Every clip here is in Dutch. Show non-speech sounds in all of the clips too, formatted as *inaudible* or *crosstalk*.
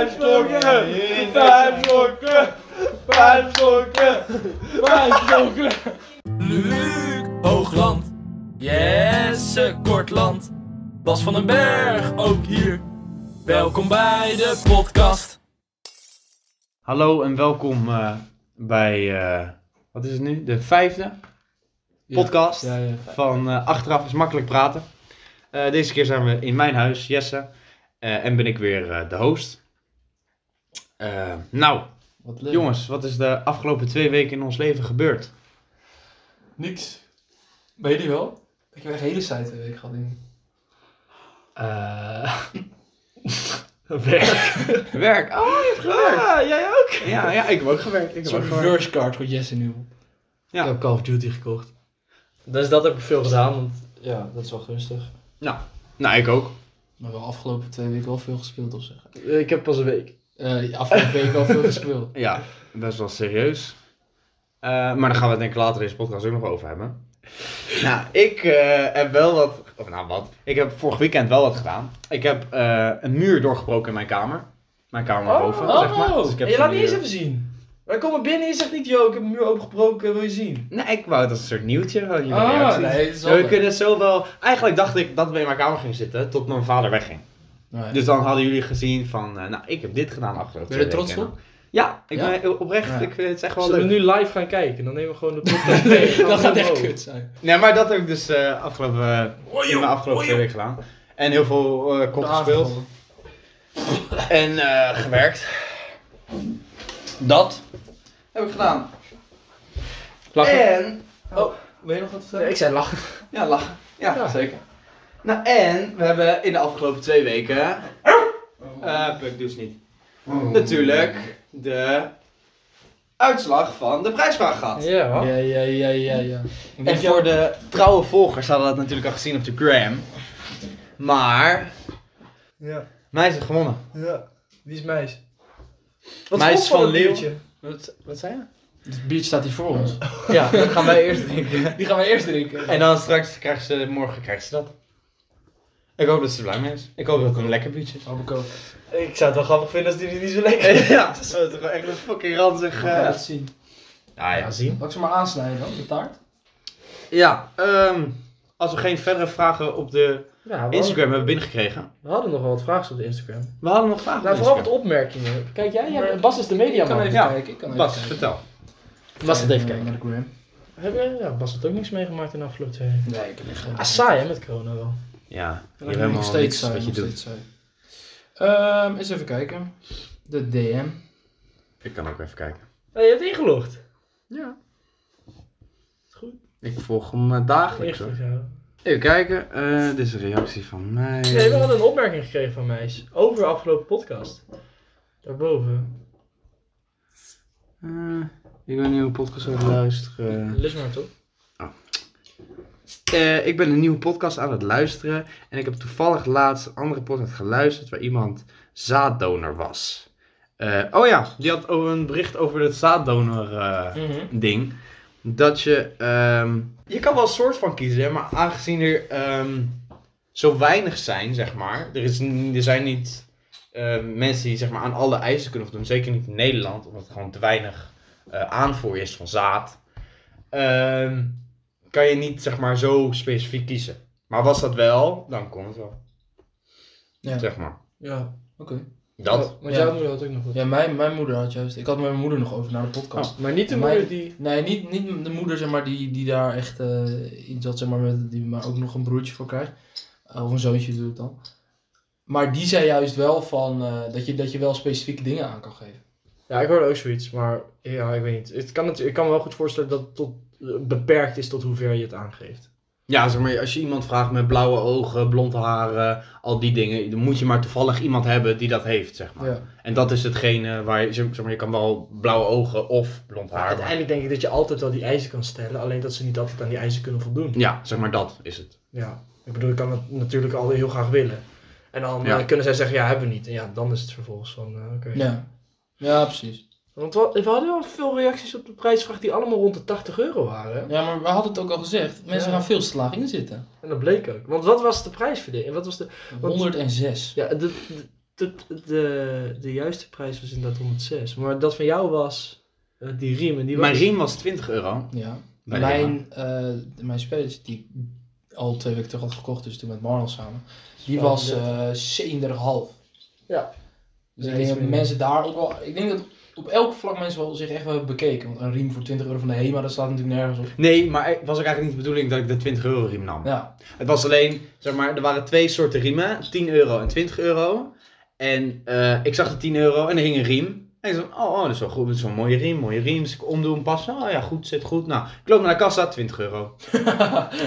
sokken, vijf sokken, vijf sokken, vijf sokken. Luc Hoogland. Jesse Kortland. Bas van den Berg ook hier. Welkom bij de podcast. Hallo en welkom eh, bij, eh, wat is het nu, de vijfde podcast Ja, ja. van eh, Achteraf is Makkelijk Praten. Eh, deze keer zijn we in mijn huis, Jesse, eh, en ben ik weer eh, de host. Eh, nou, Wat leuk. jongens, wat is de afgelopen twee weken in ons leven gebeurd? Niks. Weet je wel? Ik heb echt een hele saaie week gehad. denk ik. Eh werk. Werk. Oh, je hebt gewerkt. jij ook? Ja, ja, ik heb ook gewerkt. Ik Een heb soort ook gewerkt. reverse card voor Jesse nu. Ja. Ik heb Call of Duty gekocht. Dus dat heb ik veel gedaan, want ja, dat is wel gunstig. Nou, ik ook. Maar wel afgelopen twee weken wel veel gespeeld of zeg. Eh, Ik heb pas een week. Eh afgelopen week wel veel *laughs* gespeeld. Ja, best wel serieus. Eh, maar daar gaan we het denk ik later in deze podcast ook nog over hebben. Nou, ik eh, heb wel wat... Of nou, wat? Ik heb vorig weekend wel wat gedaan. Ik heb eh, een muur doorgebroken in mijn kamer. Mijn kamer naar boven, Oh, zeg maar. Dus ik heb je van laat niet die, eens even zien. Wij komen binnen en je zegt niet, yo, ik heb een muur opengebroken, wil je zien? eh, Nee, ik wou het als een soort nieuwtje. Van jullie Ah, reacties. nee, dat is Ja, wel we kunnen zo wel... Eigenlijk dacht ik dat we in mijn kamer gingen zitten tot mijn vader wegging. Nee. *laughs* Dus dan hadden jullie gezien van, eh, nou, ik heb dit gedaan afgelopen Ben je er twee trots weken. op? Ja, ik Ja? ben heel oprecht. Ja. Ik vind het echt wel Zullen we leuk. nu live gaan kijken? Dan nemen we gewoon de podcast *laughs* mee. Dat gaat echt kut zijn. Nee, maar dat heb ik dus eh, afgelopen, eh, in mijn afgelopen twee weken gedaan. En heel veel eh kop gespeeld. Aangevallen. En eh, gewerkt. Dat heb ik gedaan. Lachen. En... Wil je nog Nee, wat zeggen? Eh. ik zei lachen. Ja, lachen. Ja, Ja. zeker. Nou, en we hebben in de afgelopen twee weken... eh Puk, dus niet. Natuurlijk de uitslag van de prijsvraag gehad. Ja, wat? Ja, ja, ja, ja, ja. En voor de trouwe volgers hadden dat natuurlijk al gezien op de gram. Maar... Ja. Mij is het gewonnen. ja. Die is meis. Meis vond je van dat Leeuw. biertje? Wat, wat zei je? Het biertje staat hier voor ons. *laughs* Ja, dat gaan wij eerst drinken. *laughs* Die gaan we eerst drinken. En dan straks krijgt ze, morgen krijgt ze dat. Ik hoop dat ze er blij mee is. Ik hoop dat het een lekker biertje is. Hopelijk ook. Ik zou het wel grappig vinden als die niet zo lekker *laughs* is. Ja, dat is wel toch wel echt een fucking ranzig... We gaan eh het zien. Nou ja, zien. Laat ik ze maar aansnijden dan, de taart. Ja, ehm, als we geen verdere vragen op de Ja, we, hadden, Instagram hebben binnengekregen. we hadden nog wel wat vragen op de Instagram. We hadden nog vragen Nou, op vooral wat Instagram. opmerkingen. Kijk, jij, jij Bas is de Ik kan mediaman. even Ja. kijken. Ik kan even Bas, kijken. vertel. Bas het even Eh, kijken. naar de gram. Heb je, ja, Bas had ook niks meegemaakt in de afgelopen twee weken. Nee, ik heb echt geen- Ah, saai hè, met corona wel. Ja, je Ja, hebt nog helemaal steeds steeds saai, wat je nog doet. steeds saai. Ehm, eens even kijken. De DM. Ik kan ook even kijken. Hé, je hebt ingelogd. Ja. Is goed. Ik volg hem eh, dagelijks hoor. Ingelogd, ja. Even kijken, eh, dit is een reactie van mij. Nee, we hadden een opmerking gekregen van meis. Over de afgelopen podcast. Daarboven. Eh, ik ben een nieuwe podcast aan het luisteren. Lis maar toch? Eh, ik ben een nieuwe podcast aan het luisteren. En ik heb toevallig laatst een andere podcast geluisterd waar iemand zaaddonor was. Eh, oh ja, die had over een bericht over het zaaddonor eh, Mhm. ding. Dat je. ehm, je kan wel een soort van kiezen, hè, maar aangezien er ehm, zo weinig zijn, zeg maar. Er, is, n- er zijn niet ehm, mensen die zeg maar, aan alle eisen kunnen voldoen. Zeker niet in Nederland, omdat er gewoon te weinig eh, aanvoer is van zaad. Ehm, kan je niet zeg maar, zo specifiek kiezen. Maar was dat wel, dan kon het wel. Ja. Zeg maar. Ja. Oké. Dat. Oh, want Ja. jouw moeder had ook nog wat. Ja, mijn, mijn moeder had juist. Ik had met mijn moeder nog over naar de Oh. podcast. Oh. Maar niet de Maar- moeder die... Nee, niet, niet de moeder zeg maar, die, die daar echt eh, iets had, zeg maar, met, die maar ook nog een broertje voor krijgt. Eh, of een zoontje doet het dan. Maar die zei juist wel van eh, dat, je, dat je wel specifieke dingen aan kan geven. Ja, ik hoorde ook zoiets, maar ja, ik weet niet. Het kan natuurlijk, ik kan me wel goed voorstellen dat het tot, eh, beperkt is tot hoe ver je het aangeeft. Ja, zeg maar, als je iemand vraagt met blauwe ogen, blond haar, al die dingen, dan moet je maar toevallig iemand hebben die dat heeft, zeg maar. Ja. En dat is hetgene waar je, zeg maar, je kan wel blauwe ogen of blond Maar haar. maar- uiteindelijk denk ik dat je altijd wel die eisen kan stellen, alleen dat ze niet altijd aan die eisen kunnen voldoen. Ja, zeg maar, dat is het. Ja, ik bedoel, ik kan het natuurlijk altijd heel graag willen. En dan Ja. eh, kunnen zij zeggen, ja, hebben we niet. En ja, dan is het vervolgens van, eh, oké. Ja, ja precies. Want we, we hadden wel veel reacties op de prijsvraag die allemaal rond de 80 euro waren. hè? Ja, maar we hadden het ook al gezegd. Mensen Ja. gaan veel te laag in zitten. En dat bleek ook. Want wat was de prijsverdeling? Wat was de... 106. Ja, de, de- de, de, de juiste prijs was inderdaad 106. Maar dat van jou was eh, die riem. En die was... Mijn riem was 20 euro. Ja. Bij Mijn, eh, mijn spelletje die ik al twee weken terug had gekocht, dus toen met Marlon samen, die Ja, was dat- eh 37,5. Ja. Dus Ja, ik denk iets dat minder. mensen daar ook wel, ik denk dat op elk vlak mensen wel zich echt wel hebben bekeken. Want een riem voor 20 euro van de HEMA, dat staat natuurlijk nergens op. Nee, maar het was ook eigenlijk niet de bedoeling dat ik de 20 euro riem nam. Ja, Het was alleen, zeg maar, er waren twee soorten riemen. 10 euro en 20 euro. En eh, ik zag de 10 euro en er hing een riem. En ik dacht, oh, oh dat is wel goed, dat is wel een mooie riem, mooie riem. Dus ik omdoen, passen. Oh ja, goed, zit goed. Nou, ik loop naar de kassa, 20 euro.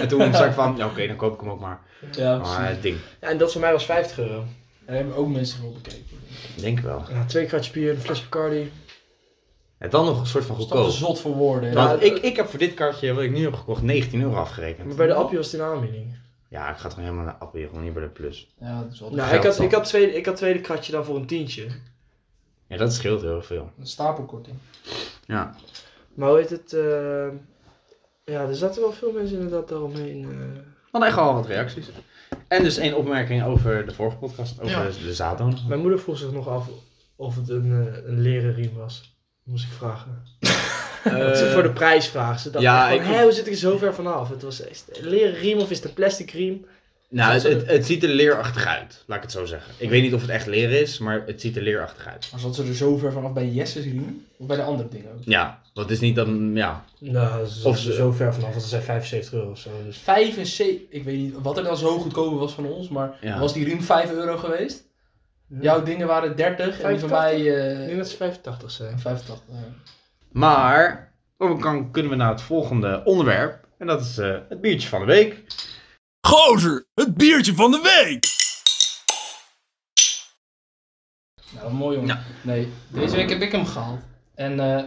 en toen zei ik van, ja oké, dan koop ik hem ook maar. ja precies. Maar het ding, Ja, en dat van mij was 50 euro. Daar hebben ook mensen wel bekeken. ik denk wel. Ja, twee kratjes bier, een fles Bacardi. En dan nog een soort van Dat is toch goedkoop. te zot voor woorden. Ja. Want ik, ik heb voor dit kaartje, wat ik nu heb gekocht, 19 euro Maar afgerekend. bij de appie was het een aanbieding. Ja, ik ga toch helemaal naar Appie, gewoon niet bij de plus. Ja, dat is wel Nou, geld ik had, dan. ik, had tweede, ik had tweede kratje dan voor een tientje. Ja, dat scheelt heel veel. een stapelkorting. Ja. Maar hoe heet het? eh, ja, er zaten wel veel mensen inderdaad daaromheen. eh. We hadden echt al wat reacties. En dus één opmerking over de vorige podcast, over Ja. de, de zaaddoner. Mijn moeder vroeg zich nog af of het een, eh, een leren riem was. Moest ik vragen. Eh, Dat ze voor de prijs vragen. Ze dacht ja, echt van, ik- "Hé, hoe zit Eh, ik er zo ver vanaf? Het was is het een leren riem of is het een plastic riem? Nou, het, Zat ze- het, het ziet er leerachtig uit, laat ik het zo zeggen. Ik weet niet of het echt leer is, maar het ziet er leerachtig uit. Maar zat ze er zo ver vanaf bij Jesse's riem? Of bij de andere dingen ook? Ja, want het is niet dan, ja. Nou, ze Of ze- zo ver vanaf, want ze zijn 75 euro of zo. Dus. 75, ik weet niet wat er dan zo goedkoper was van ons, maar Ja. was die riem 5 euro geweest? Ja. Jouw dingen waren 30 en die van mij Ik eh denk dat ze 85 *laughs* zijn. 85. ja. Maar, dan kan, kunnen we naar het volgende onderwerp. En dat is eh, het biertje van de week. Gozer, het biertje van de week! Nou, wat mooi jongen. Ja. Nee, deze week heb ik hem gehaald. En eh,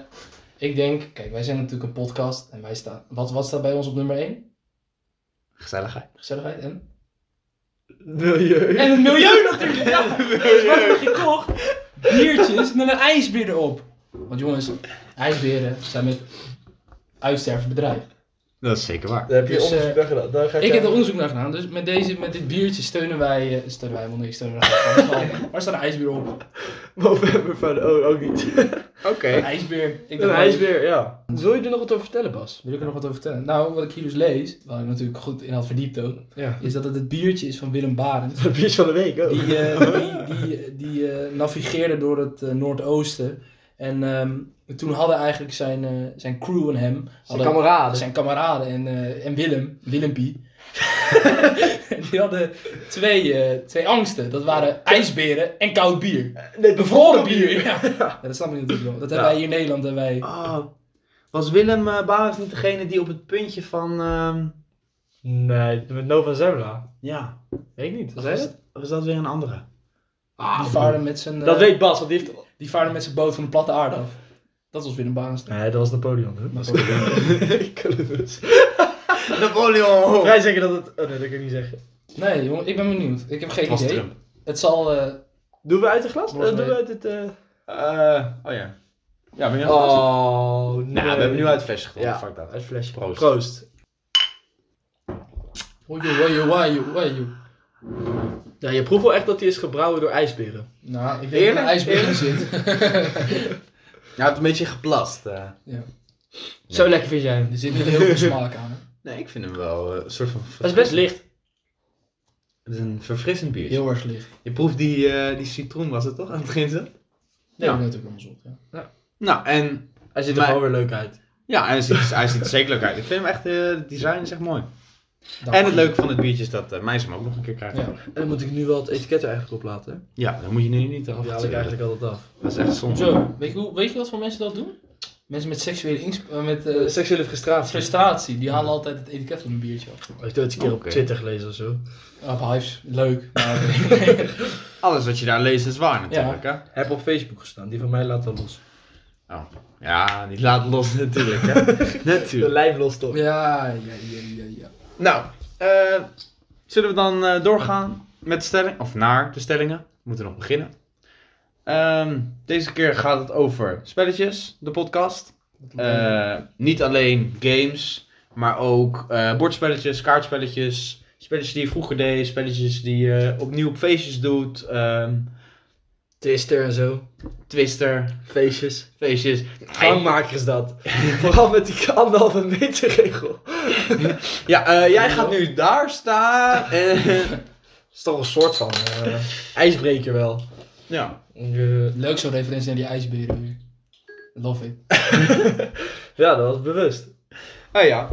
ik denk, kijk, wij zijn natuurlijk een podcast en wij staan, wat, wat staat bij ons op nummer 1? Gezelligheid. Gezelligheid en? Milieu. En het milieu *laughs* natuurlijk, ja! Dus wat heb ik gekocht? Biertjes met een ijsbeer erop. Want jongens, ijsberen zijn met uitsterven bedreigd. Dat is zeker waar. Daar heb je Dus, onderzoek eh, naar gedaan. Daar ga Ik heb er aan- onderzoek naar gedaan, dus met, deze, met dit biertje steunen wij, eh, steunen wij, want ik steun *laughs* wij, waar staat een ijsbeer op? November van, oh, ook niet. Oké. Een ijsbeer. Ik *laughs* Een dacht, ijsbeer, ja. Wil je er nog wat over vertellen, Bas? Wil ik er nog wat over vertellen? Nou, wat ik hier dus lees, waar ik natuurlijk goed in had verdiept ook, *laughs* Ja. is dat het het biertje is van Willem Barend. Het biertje van de week ook. Die, *laughs* eh, die, die, die eh, navigeerde door het eh, Noordoosten. En ehm, toen hadden eigenlijk zijn, eh, zijn crew en hem, Zijn hadden, kameraden. Ah, zijn kameraden en, eh, en Willem, Willempie. *laughs* die hadden twee, eh, twee angsten. Dat waren ijsberen en koud bier. Nee, Bevroren bier, ja. ja dat snap ik natuurlijk wel. Dat hebben Ja. wij hier in Nederland. Hebben wij... Oh, was Willem eh Barens niet degene die op het puntje van. ehm, Nee, met Nova Zembla. ja, Weet ik niet. Wat Zei was dat? was dat weer een andere? die, vaarden met zijn, eh, Dat weet Bas, want die heeft... die vaarden met zijn boot van de platte aarde af. Dat was Willem Barens. Nee, dat was Napoleon. Hè? Dat was- *laughs* *laughs* Columbus. Napoleon! Vrij zeker dat het... Oh nee, dat kan ik niet zeggen. Nee, jongen, ik ben benieuwd. Ik heb geen was idee. Trump. Het zal. eh, Doen we uit de glas? Eh, Volgens doen we mij- uit het... eh, Eh, oh ja. Ja, ben je nog vast? Oh, nee. Nou, we hebben nu uit het flesje Ja, gevonden. Fuck dat. uit het flesje. Proost. Oei, oei, oei, oei, oei, oei. Ja, Nou, je proeft wel echt dat hij is gebrouwen door ijsberen. Nou, ik denk Eerlijk? dat er ijsbeer in zit. *laughs* Ja, hij heeft een beetje geplast. eh. Zo lekker vind jij hem. Er zit niet heel veel smaak aan. hè. Nee, ik vind hem wel eh, een soort van. Dat is best licht. Het is een verfrissend biertje. Heel erg licht. Je proeft die, eh, die citroen, was het toch? Aan het begin zo? Nee, Ja. ja. natuurlijk andersom. Ja. Nou, en. Hij ziet er Maar- gewoon weer leuk uit. Ja, en hij ziet, hij *laughs* ziet er zeker leuk uit. Ik vind hem echt. eh, Het design is echt mooi. Dank En het je. leuke van het biertje is dat eh meisjes hem ook nog een keer krijgen. Ja. En dan moet ik nu wel het etiket er eigenlijk op laten. hè? Ja, dan moet je nu niet Dan af. haal ik eigenlijk altijd af. Dat is echt zonde. Zo, weet je, hoe, weet je wat voor mensen dat doen? Mensen met seksuele insp- eh, met eh, seksuele frustratie. frustratie, die halen altijd het etiket van een biertje af. Ik heb het eens een keer Oké. op Twitter gelezen of zo. Op Hives, leuk. Maar nee. Alles wat je daar leest is waar natuurlijk, ja. hè? Oh, Heb op Facebook gestaan. Die van mij laat wel los. Ja, niet laat los natuurlijk, *laughs* hè? De natuurlijk. lijf los toch? ja, ja, ja, ja, ja. Nou, eh, zullen we dan eh, doorgaan met de stelling? Of naar de stellingen? We moeten nog beginnen. Ehm, deze keer gaat het over spelletjes, de podcast. Eh, niet alleen games, maar ook eh, bordspelletjes, kaartspelletjes. Spelletjes die je vroeger deed, spelletjes die je opnieuw op feestjes doet. ehm, Twister en zo. Twister, Feestjes. feestjes. Gangmaker is dat. *laughs* Vooral met die anderhalve meter regel. Ja, eh, jij gaat nu daar staan. En... *laughs* is toch een soort van eh, *laughs* ijsbreker wel. Ja. Eh, Leuk zo'n referentie naar die ijsberen weer. Love it. ja, dat was bewust. Ah ja.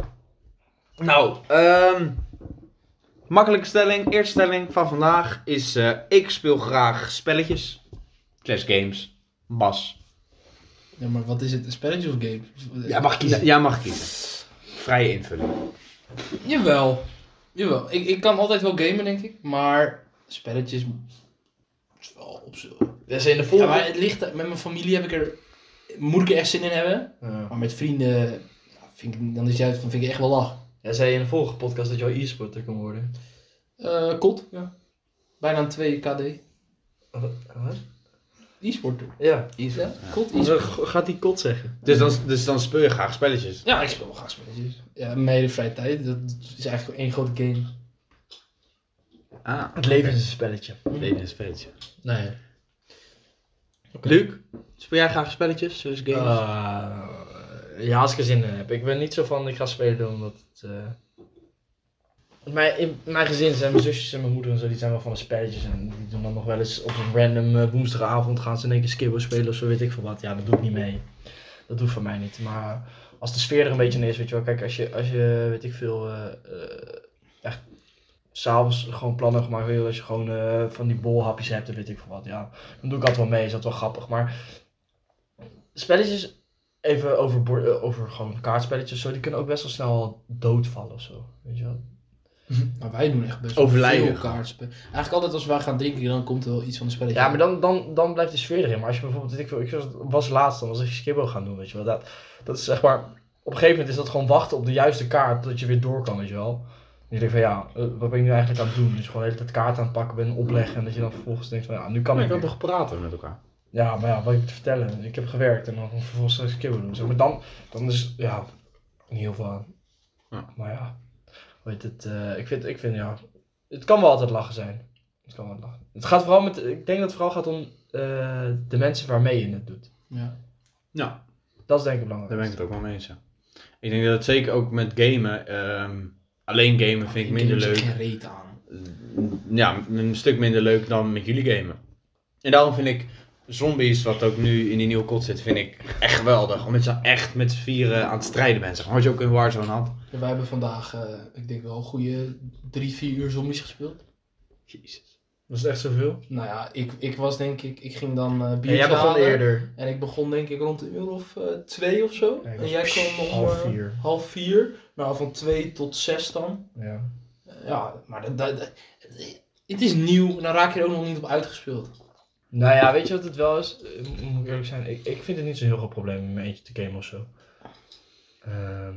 Nou, ehm, makkelijke stelling. Eerste stelling van vandaag is: eh, ik speel graag spelletjes. Clash games. Bas. Ja, maar wat is het? Een spelletje of game? Jij mag kiezen. Ja, jij mag kiezen. Vrije invulling. Jawel. Jawel. Ik, ik kan altijd wel gamen, denk ik. Maar spelletjes... is wel op zo. Dat is in de Ja, volgende. maar het ligt... Met mijn familie heb ik er... Moet ik er echt zin in hebben. Maar met vrienden... ja, vind ik, dan is het juist van, vind ik echt wel lach. Jij zei in de vorige podcast dat je al e-sporter kon worden. Eh kot. Ja. Bijna een 2 KD. Wat? E-sport doen. Ja. Ja, kot e-sport. Zo Gaat die kot zeggen? Dus dan, dus dan speel je graag spelletjes. Ja, ik speel wel graag spelletjes. Ja, mijn hele vrije tijd. Dat is eigenlijk één grote game. Ah, Het leven is een spelletje. nee, een spelletje. Nee. Luc, speel jij graag spelletjes? Dus games? Eh, ja, als ik er zin in heb. Ik ben niet zo van ik ga spelen omdat het. eh, Mijn, in mijn gezin zijn mijn zusjes en mijn moeder en zo, die zijn wel van de spelletjes. En die doen dan nog wel eens op een random eh, woensdagavond gaan ze in één keer skibbo spelen of zo, weet ik veel wat. Ja, dat doe ik niet mee. Dat hoeft van mij niet. Maar als de sfeer er een beetje in is, weet je wel. Kijk, als je, als je weet ik veel, eh, eh, echt s'avonds gewoon plannen gemaakt wil. Als je gewoon eh, van die bolhapjes hebt en weet ik veel wat. Ja, dan doe ik altijd wel mee. Is dat wel grappig. Maar spelletjes, even over, bord- eh, over gewoon kaartspelletjes, zo, die kunnen ook best wel snel doodvallen of zo. Weet je wel? Maar wij doen echt best wel Overlijden. veel kaartspelen. Eigenlijk altijd als wij gaan drinken, dan komt er wel iets van een spelletje. Ja, maar dan, dan, dan blijft de sfeer erin. Maar als je bijvoorbeeld, weet ik, veel, ik was- was laatst, dan was ik skibbo gaan doen, weet je wel. Dat, dat is zeg maar, op een gegeven moment is dat gewoon wachten op de juiste kaart, tot je weer door kan, weet je wel. En je denkt van ja, eh, wat ben ik nu eigenlijk aan het doen? Dus gewoon de hele tijd kaarten aan het pakken ben, opleggen. En dat je dan vervolgens denkt van ja, nu kan Maar ik je kan weer. toch praten met elkaar? Ja, maar ja, wat ik moet vertellen. Ik heb gewerkt en dan vervolgens straks kibbelen doen. Zeg maar dan, dan is, ja, niet heel veel aan. Ja. Maar ja, weet het, eh, ik vind, ik vind, ja, het kan wel altijd lachen zijn. Het kan wel lachen. Het gaat vooral met, ik denk dat het vooral gaat om eh, de mensen waarmee je het doet. Ja. Nou, Dat is denk ik Daar belangrijk. ben ik het ook wel mee eens. ja. Ik denk dat het zeker ook met gamen. ehm, alleen gamen vind ik minder Games leuk. heb geen reet aan. Ja, een stuk minder leuk dan met jullie gamen. En daarom vind ik zombies, wat ook nu in die nieuwe kot zit, vind ik echt geweldig. Omdat je dan echt met z'n vieren aan het strijden bent. Zeg maar, wat je ook in Warzone had. Ja, wij hebben vandaag, eh, ik denk wel, een goede drie, vier uur zombies gespeeld. Jezus. Dat is echt zoveel. Nou ja, ik, ik was denk ik, ik ging dan eh En biertje jij begon halen. eerder. En ik begon denk ik rond een uur of eh, twee of zo. Ja, ik en was- jij kwam om half eh, vier. half vier. Nou, van twee tot zes dan. Eh, Ja. Ja, maar dat, dat, dat- het is nieuw en dan raak je er ook nog niet op uitgespeeld. Nou ja, weet je wat het wel is? Eh, Moet ik eerlijk zijn, ik, ik vind het niet zo'n heel groot probleem om in mijn eentje te gamen of zo. Ehm,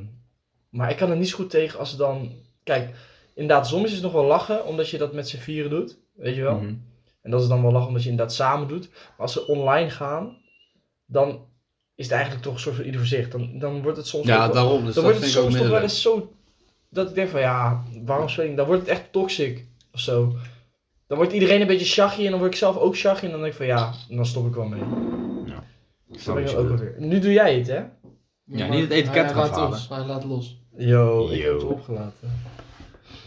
maar ik kan er niet zo goed tegen als ze dan... Kijk, inderdaad, soms is het nog wel lachen omdat je dat met z'n vieren doet. Weet je wel? Mhm. En dat is dan wel lachen omdat je inderdaad samen doet. Maar als ze online gaan, dan is het eigenlijk toch een soort van ieder voor zich. Dan, dan wordt het soms... ook Ja, wel- daarom. Dus dan dat wordt vind het ik ook soms toch minder wel leuk. eens zo... Dat ik denk van, ja, waarom speel ik... Dan wordt het echt toxic of zo. Dan wordt iedereen een beetje shaggy en dan word ik zelf ook shaggy. En dan denk ik van, ja, dan stop ik wel mee. Ik Dan snap ben wat ik je dan ook wel bedoelt. weer. Nu doe jij het, hè? Ja, maar niet het etiket hij gaan laat verhalen. los, Hij laat los. Yo, ik ik heb heb het het opgelaten.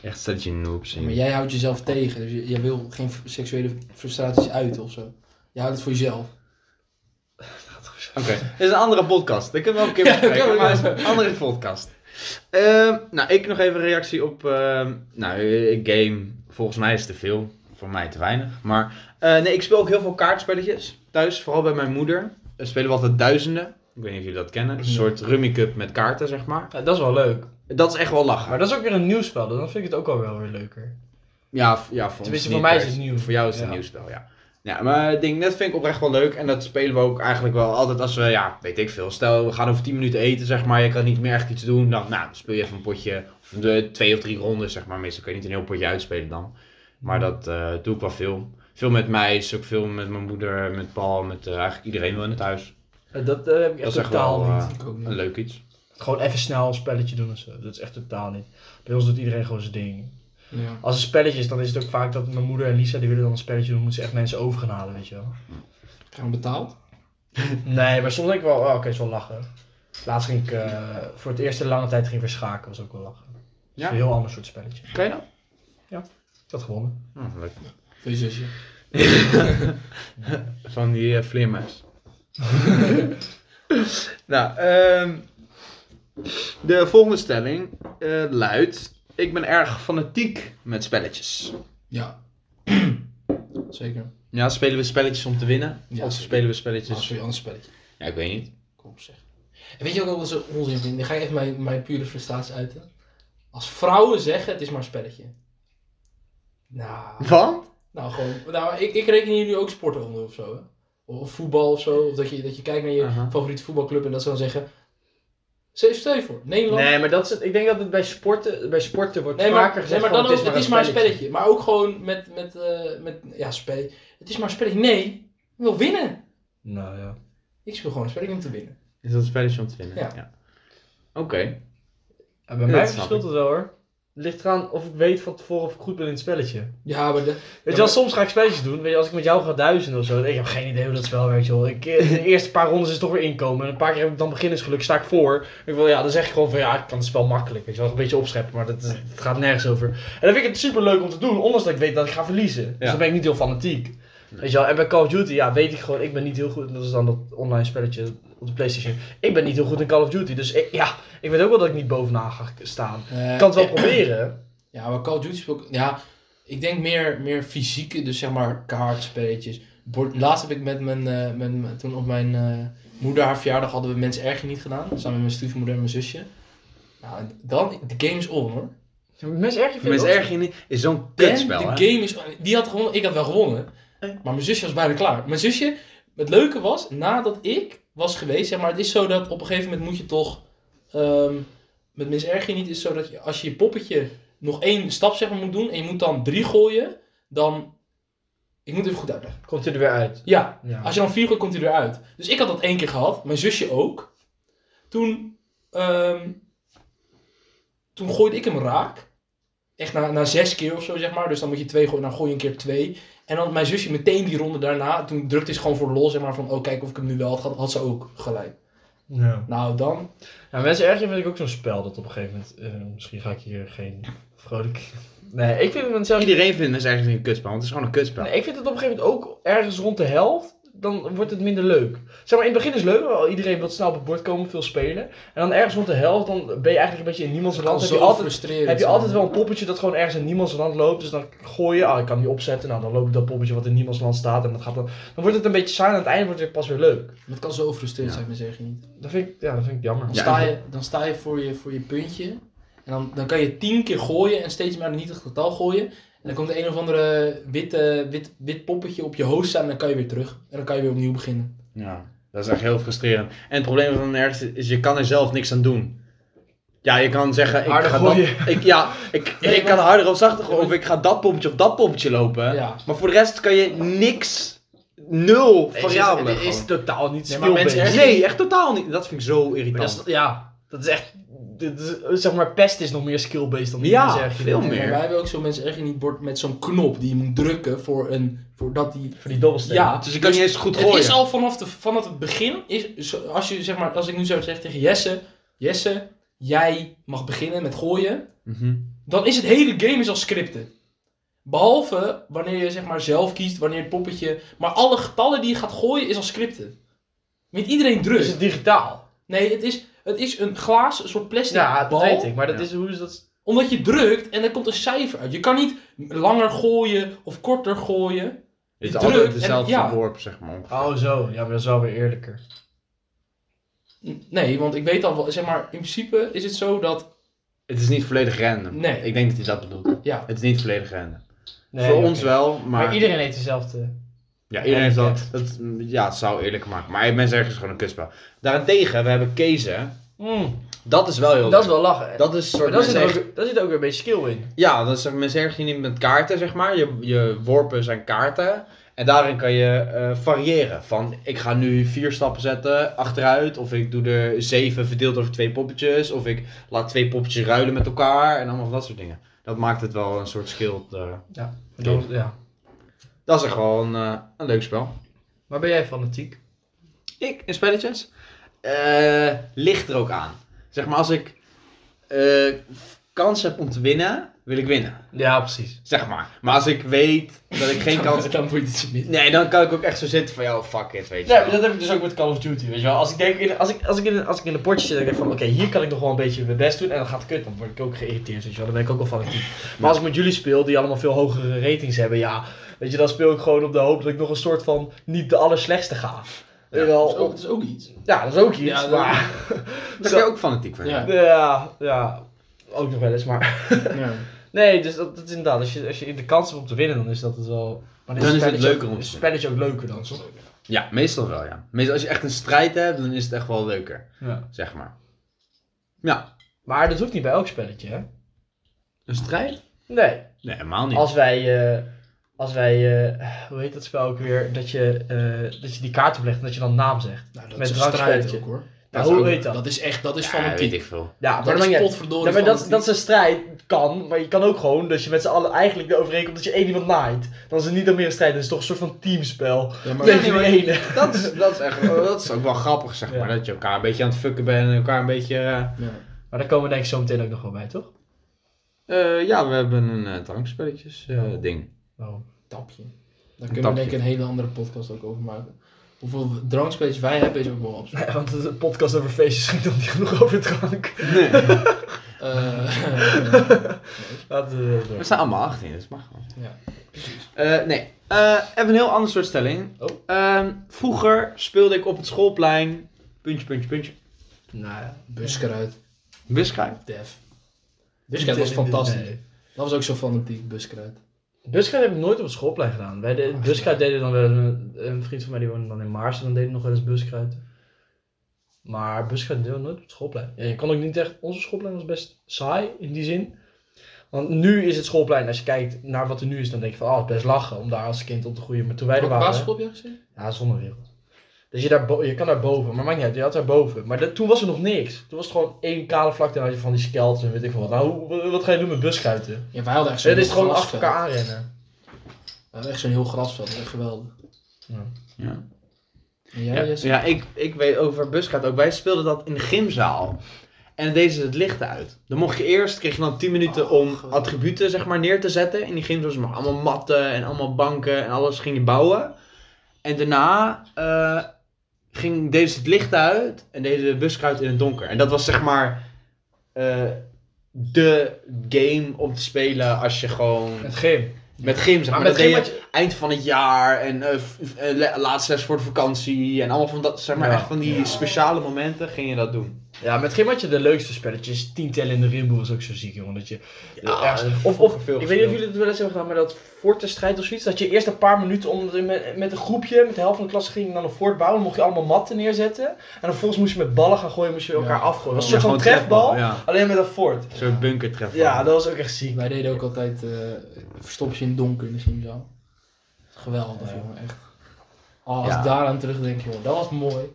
Echt stel dat je noobs Maar in. jij houdt jezelf tegen. Dus je- jij wil geen f- seksuele frustraties uiten of zo. Je houdt het voor jezelf. Oké, dit is een andere podcast. Dat kunnen we wel een keer *laughs* Ja, dat bespreken, kunnen we maar het wel. is een andere podcast. Ehm, nou, ik nog even een reactie op... ehm, nou, eh, game, volgens mij is te veel. Voor mij te weinig. Maar eh, nee, ik speel ook heel veel kaartspelletjes thuis. Vooral bij mijn moeder. We spelen wat de duizenden. Ik weet niet of jullie dat kennen. Een Nee. soort rummy cup met kaarten, zeg maar. Ja, dat is wel leuk. Dat is echt wel lachen. Maar dat is ook weer een nieuw spel, dus dan vind ik het ook wel wel weer leuker. Ja, v- ja voor ons Tenminste, niet voor mij per is het se. nieuw. Voor jou is het een Ja. nieuw spel, ja. Ja, maar ik denk, dat vind ik oprecht wel leuk. En dat spelen we ook eigenlijk wel altijd als we, ja, weet ik veel. Stel, we gaan over 10 minuten eten, zeg maar. Je kan niet meer echt iets doen. Dan, nou, dan speel je even een potje. Of de twee of drie ronden, zeg maar. Meestal kan je niet een heel potje uitspelen dan. Mm. Maar dat eh, doe ik wel veel. Veel met mij, ook veel met mijn moeder, met Paul, met eh, eigenlijk iedereen wel in het huis. Eh, Dat eh, heb ik echt is echt totaal wel, niet. eh, Ik ook Een niet. leuk iets. Gewoon even snel een spelletje doen en zo. Dat is echt totaal niet. Bij ons doet iedereen gewoon zijn ding. Ja. Als het spelletje is, dan is het ook vaak dat mijn moeder en Lisa, die willen dan een spelletje doen, moeten ze echt mensen over gaan halen, weet je wel. Gewoon betaald. Nee, maar soms denk ik wel, oh, oké, is wel lachen. Laatst ging ik, eh, voor het eerst in lange tijd ging ik weer schaken, was ook wel lachen. Dat is Ja? een heel ander soort spelletje. Kan je dat? Ik had gewonnen. Oh, leuk. Voor je zusje. Van die eh, vleermuis. *laughs* nou, ehm, de volgende stelling eh, luidt: Ik ben erg fanatiek met spelletjes. Ja. *clears throat* Zeker. Ah, Ja, spelen we spelletjes om te winnen? Ja. of spelen we Dat is spelletjes. voor je ander spelletje. Ja, ik weet niet. Kom op zeg. En weet je wat ik ook wel zo onzin vind? Dan ga ik even mijn, mijn pure frustratie uiten. Als vrouwen zeggen het is maar een spelletje. Nou, Wat? nou gewoon. Nou, ik, ik reken hier nu ook sporten onder of zo. Hè? Of voetbal of zo. Of dat je, dat je kijkt naar je Aha. favoriete voetbalclub en dat ze dan zeggen. Zeef stel je voor. Nederland. Nee, maar dat is het, ik denk dat het bij sporten, bij sporten wordt Nee, vaker maar, nee, gezegd maar van, dan ook, het is maar een spelletje. Maar ook gewoon met, met, eh, met ja, spel. Het is maar een spelletje. Nee, ik wil winnen. Nou ja. Ik speel gewoon een spelletje om te winnen. Is dat een spelletje om te winnen? Ja. Oké. En Ja, dat bij mij snap verschilt ik. het wel hoor. Het ligt eraan of ik weet van tevoren of ik goed ben in het spelletje. Ja, maar de, Weet Ja, je wel, maar- soms ga ik spelletjes doen. Weet je, als ik met jou ga duizenden of zo, ik heb geen idee hoe dat spel werkt, joh. Ik, eh, de eerste paar rondes is het toch weer inkomen. En een paar keer heb ik dan beginnersgeluk, sta ik voor. Ik wil, ja, dan zeg ik gewoon van, ja, ik kan het spel makkelijk. Weet je wel, een beetje opscheppen, maar dat, dat gaat nergens over. En dan vind ik het super leuk om te doen, ondanks dat ik weet dat ik ga verliezen. Dus Ja. dan ben ik niet heel fanatiek. Weet je wel, en bij Call of Duty, ja, weet ik gewoon, ik ben niet heel goed. en Dat is dan dat online spelletje op de Playstation. Ik ben niet heel goed in Call of Duty, dus ik, ja, ik weet ook wel dat ik niet bovenaan ga staan. eh, Ik kan het wel proberen. Ja, maar Call of Duty speel ik... Ja, ik denk meer, meer fysieke, dus zeg maar kaartspelletjes. Bord, laatst heb ik met mijn... eh, met, mijn- toen op mijn eh, moeder haar verjaardag hadden we Mens Erger niet gedaan. Samen met mijn stiefmoeder en mijn zusje. Nou, en dan... De game is on, hoor. Mensen erg je Mens erg in is zo'n kutspel, En hè? de game is... Die had gewonnen. Ik had wel gewonnen. Maar mijn zusje was bijna klaar. Mijn zusje... Het leuke was, nadat ik was geweest... Zeg maar, het is zo dat op een gegeven moment moet je toch... ehm, met Miss Erg niet is zo dat je, als je je poppetje nog één stap zeg maar, moet doen... en je moet dan drie gooien, dan... Ik moet het even goed uitleggen. Komt hij er weer uit. Ja, Ja. als je dan vier gooit, komt hij eruit. Dus ik had dat één keer gehad, mijn zusje ook. Toen, ehm, toen gooide ik hem raak. Echt na, na zes keer of zo, zeg maar. Dus dan moet je twee gooien, dan gooi je een keer twee. En dan mijn zusje meteen die ronde daarna, toen drukte ze gewoon voor lol, zeg maar, van oh, kijk of ik hem nu wel had gehad, had ze ook gelijk. Ja. Nou, dan. Ja, mensen ergeren vind ik ook zo'n spel dat op een gegeven moment. eh, misschien ga ik hier geen vrolijk. *laughs* Nee, ik vind het zelf. Iedereen vindt mens erg een kutspel, want het is gewoon een kutspel. Nee, ik vind het op een gegeven moment ook ergens rond de helft. Dan wordt het minder leuk. Zeg maar, in het begin is het leuk, want iedereen wil snel op het bord komen, veel spelen. En dan ergens rond de helft, dan ben je eigenlijk een beetje in niemands land. Heb je, altijd, frustrerend. heb je zijn. altijd wel een poppetje dat gewoon ergens in niemands land loopt. Dus dan gooi je, ah, ik kan die opzetten. Nou, dan loop ik dat poppetje wat in niemands land staat. En dat gaat dan, dan wordt het een beetje saai. En aan het einde wordt het pas weer leuk. Het kan zo frustrerend Ja. zijn, mijn zeggen niet. Dat vind ik, ja, dat vind ik jammer. Dan, Ja, sta en- je, dan sta je voor je, voor je puntje. En dan, dan kan je tien keer gooien en steeds maar niet het getal gooien. En dan komt er een of andere witte, wit, wit poppetje op je hoofd staan en dan kan je weer terug. En dan kan je weer opnieuw beginnen. Ja, dat is echt heel frustrerend. En het probleem van nergens is, je kan er zelf niks aan doen. Ja, je kan zeggen, ik Harder ga gooien. dat... Ik, ja, *laughs* ik, Nee, ik maar- kan harder of zachter gooien, of ik ga dat pompje of dat pompje lopen. Ja. Maar voor de rest kan je niks, nul Het is, variabelen het is gewoon. totaal niet Nee, speelbaar. maar mensen ergeren- Nee, echt totaal niet. Dat vind ik zo Maar irritant. dat is, ja, dat is echt. Dit is, zeg maar, pest is nog meer skill-based dan Ja, mensen ergeren. veel meer. Maar wij hebben ook zo'n mensen echt in die bord met zo'n knop die je moet drukken voor, een, voor dat die... Voor die dobbelsteen. Ja, Dus je kan niet eens goed Het gooien. is al vanaf, de, vanaf het begin, is, zo- als, je, zeg maar, als ik nu zou zeggen tegen Jesse, Jesse, jij mag beginnen met gooien. Mhm. dan is het hele game is al scripted. Behalve wanneer je zeg maar zelf kiest, wanneer het poppetje... Maar alle getallen die je gaat gooien is al scripted. Met iedereen Is druk. dus het digitaal? Nee, het is, het is een glazen een soort plastic Ja, dat bal. weet ik. Maar dat Ja. is hoe is dat. Omdat je drukt en er komt een cijfer uit. Je kan niet langer gooien of korter gooien. Het is Druk altijd en- dezelfde ja. worp, zeg maar. ongeveer. Oh, zo. Ja, maar dat is wel weer eerlijker. N- Nee, want ik weet al wel... Zeg maar, in principe is het zo dat... Het is niet volledig random. Nee. Ik denk dat hij dat bedoelt. Ja, Het is niet volledig random. Nee, voor oké. ons wel, maar... Maar, iedereen heeft dezelfde. Ja, iedereen heeft Ja, dat. eh, dat ja, het zou eerlijker maken. Maar mensen ergens gewoon een kutspel. Daarentegen, we hebben Kezen. Mm, Dat is wel heel dat is leuk. wel lachen. Dat is een maar soort daar mensen zit, ergens- ook, daar zit ook weer een beetje skill in. Ja, dat is mensen ergens niet met kaarten, zeg maar. Je, je worpen zijn kaarten. En daarin kan je eh, variëren. Van, ik ga nu vier stappen zetten achteruit. Of ik doe er zeven verdeeld over twee poppetjes. Of ik laat twee poppetjes ruilen met elkaar. En allemaal van dat soort dingen. Dat maakt het wel een soort schild. eh. Ja. Dat, ja. Dat is echt wel een, eh, een leuk spel. Waar ben jij fanatiek? Ik, in spelletjes? Eh, ligt er ook aan. Zeg maar, als ik eh, kans heb om te winnen, wil ik winnen. Ja, *laughs* precies. Zeg maar. Maar als ik weet dat ik geen kans heb... *laughs* Dan moet je het niet. Nee, dan kan ik ook echt zo zitten van, joh, fuck it, weet je Nee, wel. maar dat heb ik dus ook met Call of Duty, weet je wel. Als ik, denk, in- als ik, als ik, in, als ik in een potje zit, dan denk ik van, oké, hier kan ik nog wel een beetje mijn best doen. En dan gaat het kut, dan word ik ook geïrriteerd, weet je wel. Dan ben ik ook al fanatiek. Maar als ik met jullie speel, die allemaal veel hogere ratings hebben, ja. Weet je, dan speel ik gewoon op de hoop dat ik nog een soort van niet de allerslechtste ga. Weet je wel, Dat is ook, dat is ook iets. ja, dat is ook iets, Ja, dat- maar... Daar *laughs* Zo- ben je ook fanatiek van. Ja. Ja, ja, ook nog wel eens, maar... Ja. Nee, dus dat, dat is inderdaad, als je, als je de kans hebt om te winnen, dan is dat het wel... Maar Dan is het spelletje leuker ook- om te is het spelletje ook leuker dan, toch? Ja, meestal wel, ja. Meestal als je echt een strijd hebt, dan is het echt wel leuker, Ja. zeg maar. Maar dat hoeft niet bij elk spelletje, hè? Een strijd? Nee. Nee, helemaal niet. Als wij, eh, als wij eh, hoe heet dat spel ook weer, dat je, eh, dat je die kaart oplegt en dat je dan naam zegt. *laughs* Nou, dat Met is een drankspelletje. strijd ook hoor. Nou, is hoe ook- heet dat? Dat is echt, dat is ja, weet fanatiek. ik veel. Ja, maar dat dat, is dat, potverdorie ja, maar dat, fanatiek. dat is een strijd, kan, maar je kan ook gewoon dat je met z'n allen eigenlijk de overeenkomt dat je één iemand naait. Dan is het niet dan meer een strijd, dan is het toch een soort van teamspel. Ja, maar- Tegen nee, die maar- ene. Dat is, dat is echt, dat is ook wel grappig, zeg Ja. maar. Dat je elkaar een beetje aan het fucken bent en elkaar een beetje... eh, Ja. *laughs* Maar daar komen we denk ik zo meteen ook nog wel bij, toch? eh, ja, we hebben een eh drankspelletjes eh, ding. Nou, tapje. Daar kunnen we tapje. denk ik een hele andere podcast ook over maken. Hoeveel drankspelletjes wij hebben is ook *laughs* wel absurd. nee, *laughs* want de podcast over feestjes ging dan niet genoeg over drank. Eh, *laughs* Laten we door. We staan allemaal 18, dus het mag gewoon. Ja, Eh, nee, Eh, even een heel ander soort stelling. Oh. Ehm, vroeger speelde ik op het schoolplein... Puntje, puntje, puntje. Nou ja. buskruid, Buskruid. def. Buskruid was fantastisch. Dat was ook zo fanatiek, buskruid. Buskruid heb ik nooit op het schoolplein gedaan. Wij de, Ah, buskruid deden dan wel eens een, een vriend van mij die woonde dan in Maars en dan deden we nog wel eens buskruid. Maar buskruid deden we nooit op het schoolplein. Ja, je kan ook niet echt. Onze schoolplein was best saai in die zin. Want nu is het schoolplein, als je kijkt naar wat er nu is, dan denk je van, ah, het is best lachen om daar als kind op te groeien. Maar toen wij er Welke waren, basisschool heb jij gezien? ja, zonnewereld. Dus je, daar bo- je kan daar boven, maar maakt niet uit, je had daar boven. Maar dat- toen was er nog niks. Toen was het gewoon één kale vlakte en had je van die skelts en weet ik veel wat. Nou, hoe- wat ga je doen met buskruiden? Ja, wij hadden echt zo'n Het is heel gewoon achter grasveld. elkaar aanrennen. We hadden echt zo'n heel grasveld, dat was echt geweldig. Ja. En jij, Ja, Jesse? ja ik, ik weet over buskaart ook. Wij speelden dat in de gymzaal. En deden ze het licht uit. Dan mocht je eerst, kreeg je dan 10 minuten Oh, om geweldig. attributen zeg maar neer te zetten. In die gymzaal ze mochten allemaal matten en allemaal banken en alles ging je bouwen. En daarna eh, ging, deden ze het licht uit en deden de buskaart in het donker. En dat was zeg maar eh, de game om te spelen als je gewoon Het gym. met gym zeg maar. Maar met dat deed je- gym had je- eind van het jaar en eh, v- eh, le- laatste zes voor de vakantie en allemaal van dat, zeg maar, Ja. echt van die speciale momenten ging je dat doen. Ja, met Grim had je de leukste spelletjes. Tientallen in de rimboe was ook zo ziek, jongen. Dat je Ja, ergens- dat heb ik of, vroeger of, veel ik weet niet of gespeeld. jullie het wel eens hebben gedaan, maar dat fortenstrijd of zoiets. Dat je eerst een paar minuten om, met, met een groepje, met de helft van de klas ging je dan een fort bouwen. Dan mocht je allemaal matten neerzetten. En dan vervolgens moest je met ballen gaan gooien, moest je elkaar Ja. afgooien. Dat was Ja, een soort van gewoon trefbal, Ja, alleen met een fort. zo'n bunker trefbal. Ja, dat was ook echt ziek. Wij deden ook altijd eh verstop je in het donker in de gymzaal. Geweldig, Ja. jongen, echt. Oh, als Ja. ik daaraan terugdenk, joh, dat was mooi.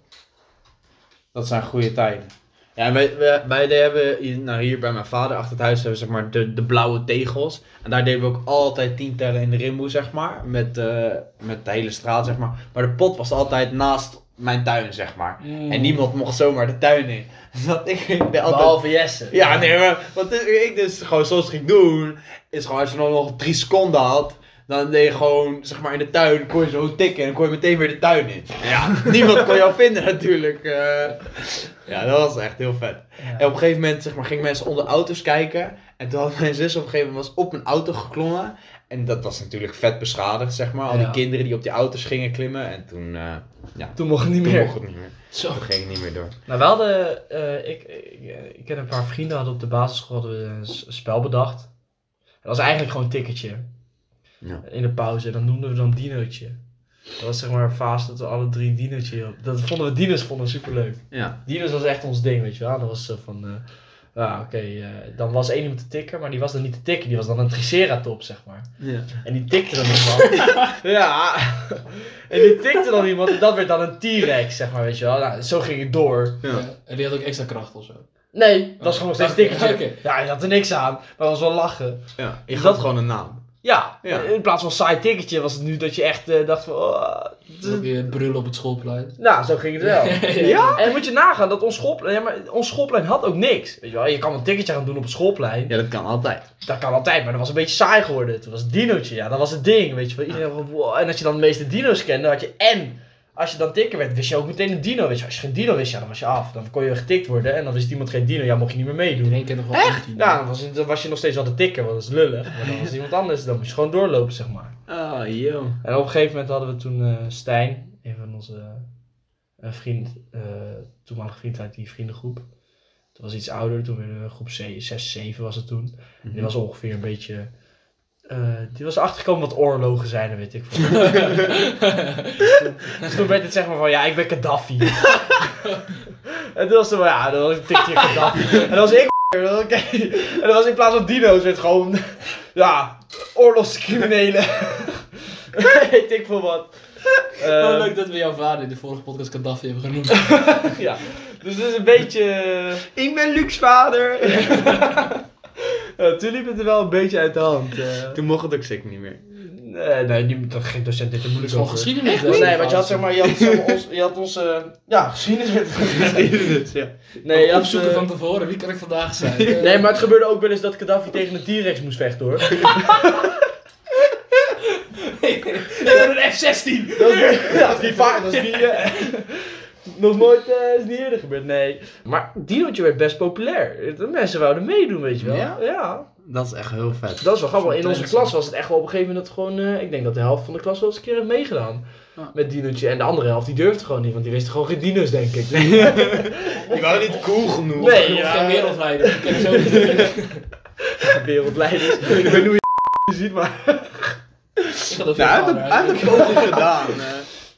Dat zijn goede tijden. Ja, en wij, wij, wij deden- hebben, hier- nou hier bij mijn vader achter het huis hebben we zeg maar de, de blauwe tegels. En daar deden we ook altijd tien tellen in de rimboe zeg maar, met, eh, met de hele straat zeg maar. Maar de pot was altijd naast mijn tuin zeg maar. En niemand mocht zomaar de tuin in. *laughs* Dus dat ik, ik ben altijd Behalve Jesse. Ja, nee, maar wat ik dus gewoon zoals ik ging doen, is gewoon als je nog, nog drie seconden had, dan deed je gewoon, zeg maar, in de tuin, kon je zo tikken en dan kon je meteen weer de tuin in. Ja, *laughs* niemand kon jou vinden natuurlijk. eh. ja, dat was echt heel vet. En op een gegeven moment, zeg maar, gingen mensen onder auto's kijken en toen had mijn zus op een gegeven moment was op een auto geklommen en dat was natuurlijk vet beschadigd, zeg maar. Al die Ja. kinderen die op die auto's gingen klimmen en toen, eh Toen mocht het niet toen meer. mocht het niet meer. Zo. Toen ging het niet meer door. Nou, we hadden, eh, ik, ik, ik ken een paar vrienden, hadden op de basisschool hadden we een s- een spel bedacht. Dat was eigenlijk gewoon een tikketje. Ja. In de pauze, dan noemden we dan dinootje. Dat was zeg maar een fase dat we alle drie dinootje op- Dat vonden we, dino's vonden we superleuk. Ja, Dino's was echt ons ding, weet je wel. Dat was zo van, eh, ja oké, eh, dan was één iemand te tikken, maar die was dan niet te tikken. Die was dan een triceratops, zeg maar. ja. En die tikte dan iemand. ja. En die tikte dan iemand en dat werd dan een T-Rex, zeg maar, weet je wel. Nou, zo ging het door. Ja. Ja, En die had ook extra kracht of zo. Nee, dat is gewoon nog steeds Oké, tikkertje. oké. Ja, je had er niks aan, maar dat was wel lachen. ja. Je Dat- gaf gewoon een naam. Ja, Ja. in plaats van saai ticketje was het nu dat je echt eh, dacht van... oh, dit is- Dan weer brullen op het schoolplein. Nou, zo ging het wel. ja? En dan moet je nagaan dat ons schoolplein... Ja, maar ons schoolplein had ook niks. Weet je, wel? je kan een ticketje gaan doen op het schoolplein. Ja, dat kan altijd. Dat kan altijd, maar dat was een beetje saai geworden. Toen was het dinootje, ja, dat was het ding, weet je wel. Iedereen van, wow. En als je dan de meeste dino's kende, had je en... Als je dan tikker werd, wist je ook meteen een dino. Weet je, als je geen dino wist, ja, dan was je af. Dan kon je getikt worden en dan wist iemand geen dino. Ja, mocht je niet meer meedoen. Iedereen kent nog wel Echt? Ja, dan was, dan was je nog steeds aan de tikken, want dat is lullig. Maar dan was het iemand anders, dan moest je gewoon doorlopen, zeg maar. Oh, joh. En op een gegeven moment hadden we toen eh, Stijn, een van onze eh, vriend, eh, toenmalige vriend uit die vriendengroep. Toen was hij iets ouder, toen werden we groep C- 6, 7 was het toen. En Die was ongeveer een beetje. eh, die was achtergekomen wat oorlogen zijn, en weet ik veel. dus toen werd het zeg maar van, ja, ik ben Gaddafi. en toen was het van, ja, dat was een tikje Gaddafi. En dat was ik, *laughs* oké. En dat was in plaats van dino's, werd gewoon, ja, oorlogscriminelen. *laughs* weet ik veel wat. Wel Eh, Oh, leuk dat we jouw vader in de vorige podcast Gaddafi hebben genoemd. ja. Dus het is een *laughs* beetje... Ik ben Lucs vader. *laughs* eh, toen liep het er wel een beetje uit de hand. eh. Toen mocht het ook zeker niet *laughs* meer. nee, nee, die, dat geen docent dit er Dat is moeilijk gewoon over. geschiedenis. hè? Nee, want je had zeg maar, je had, zeg maar ons, je had ons, eh, *laughs* ja, geschiedenis werd dus, ja. Nee, je had, Opzoeken eh, van tevoren, wie kan ik vandaag zijn? Eh, Nee, maar het gebeurde ook wel eens dat Gaddafi tegen een T-Rex moest *laughs* vechten hoor. een F-16! Dat is niet, ja, dat is niet vaak, dat is niet, eh, nog nooit, eh, is niet eerder gebeurd, nee. Maar Dinootje werd best populair. De mensen wouden meedoen, weet je wel. Ja? ja. Dat is echt heel vet. Dat is wel grappig. In onze Trends. klas was het echt wel op een gegeven moment gewoon... eh, ik denk dat de helft van de klas wel eens een keer heeft meegedaan. Ja. Met Dinootje. En de andere helft, die durfde gewoon niet. Want die wisten gewoon geen dino's, *laughs* denk ik. Ik wou niet cool genoeg. Nee. Nee, ja. *laughs* geen wereldleider. Ik ken zo niet. Wereldleiders. ik weet niet hoe je *laughs* ziet, maar... Ik had Nou, dat veel hij heeft vader, een- hè. hij heeft een poging gedaan. eh.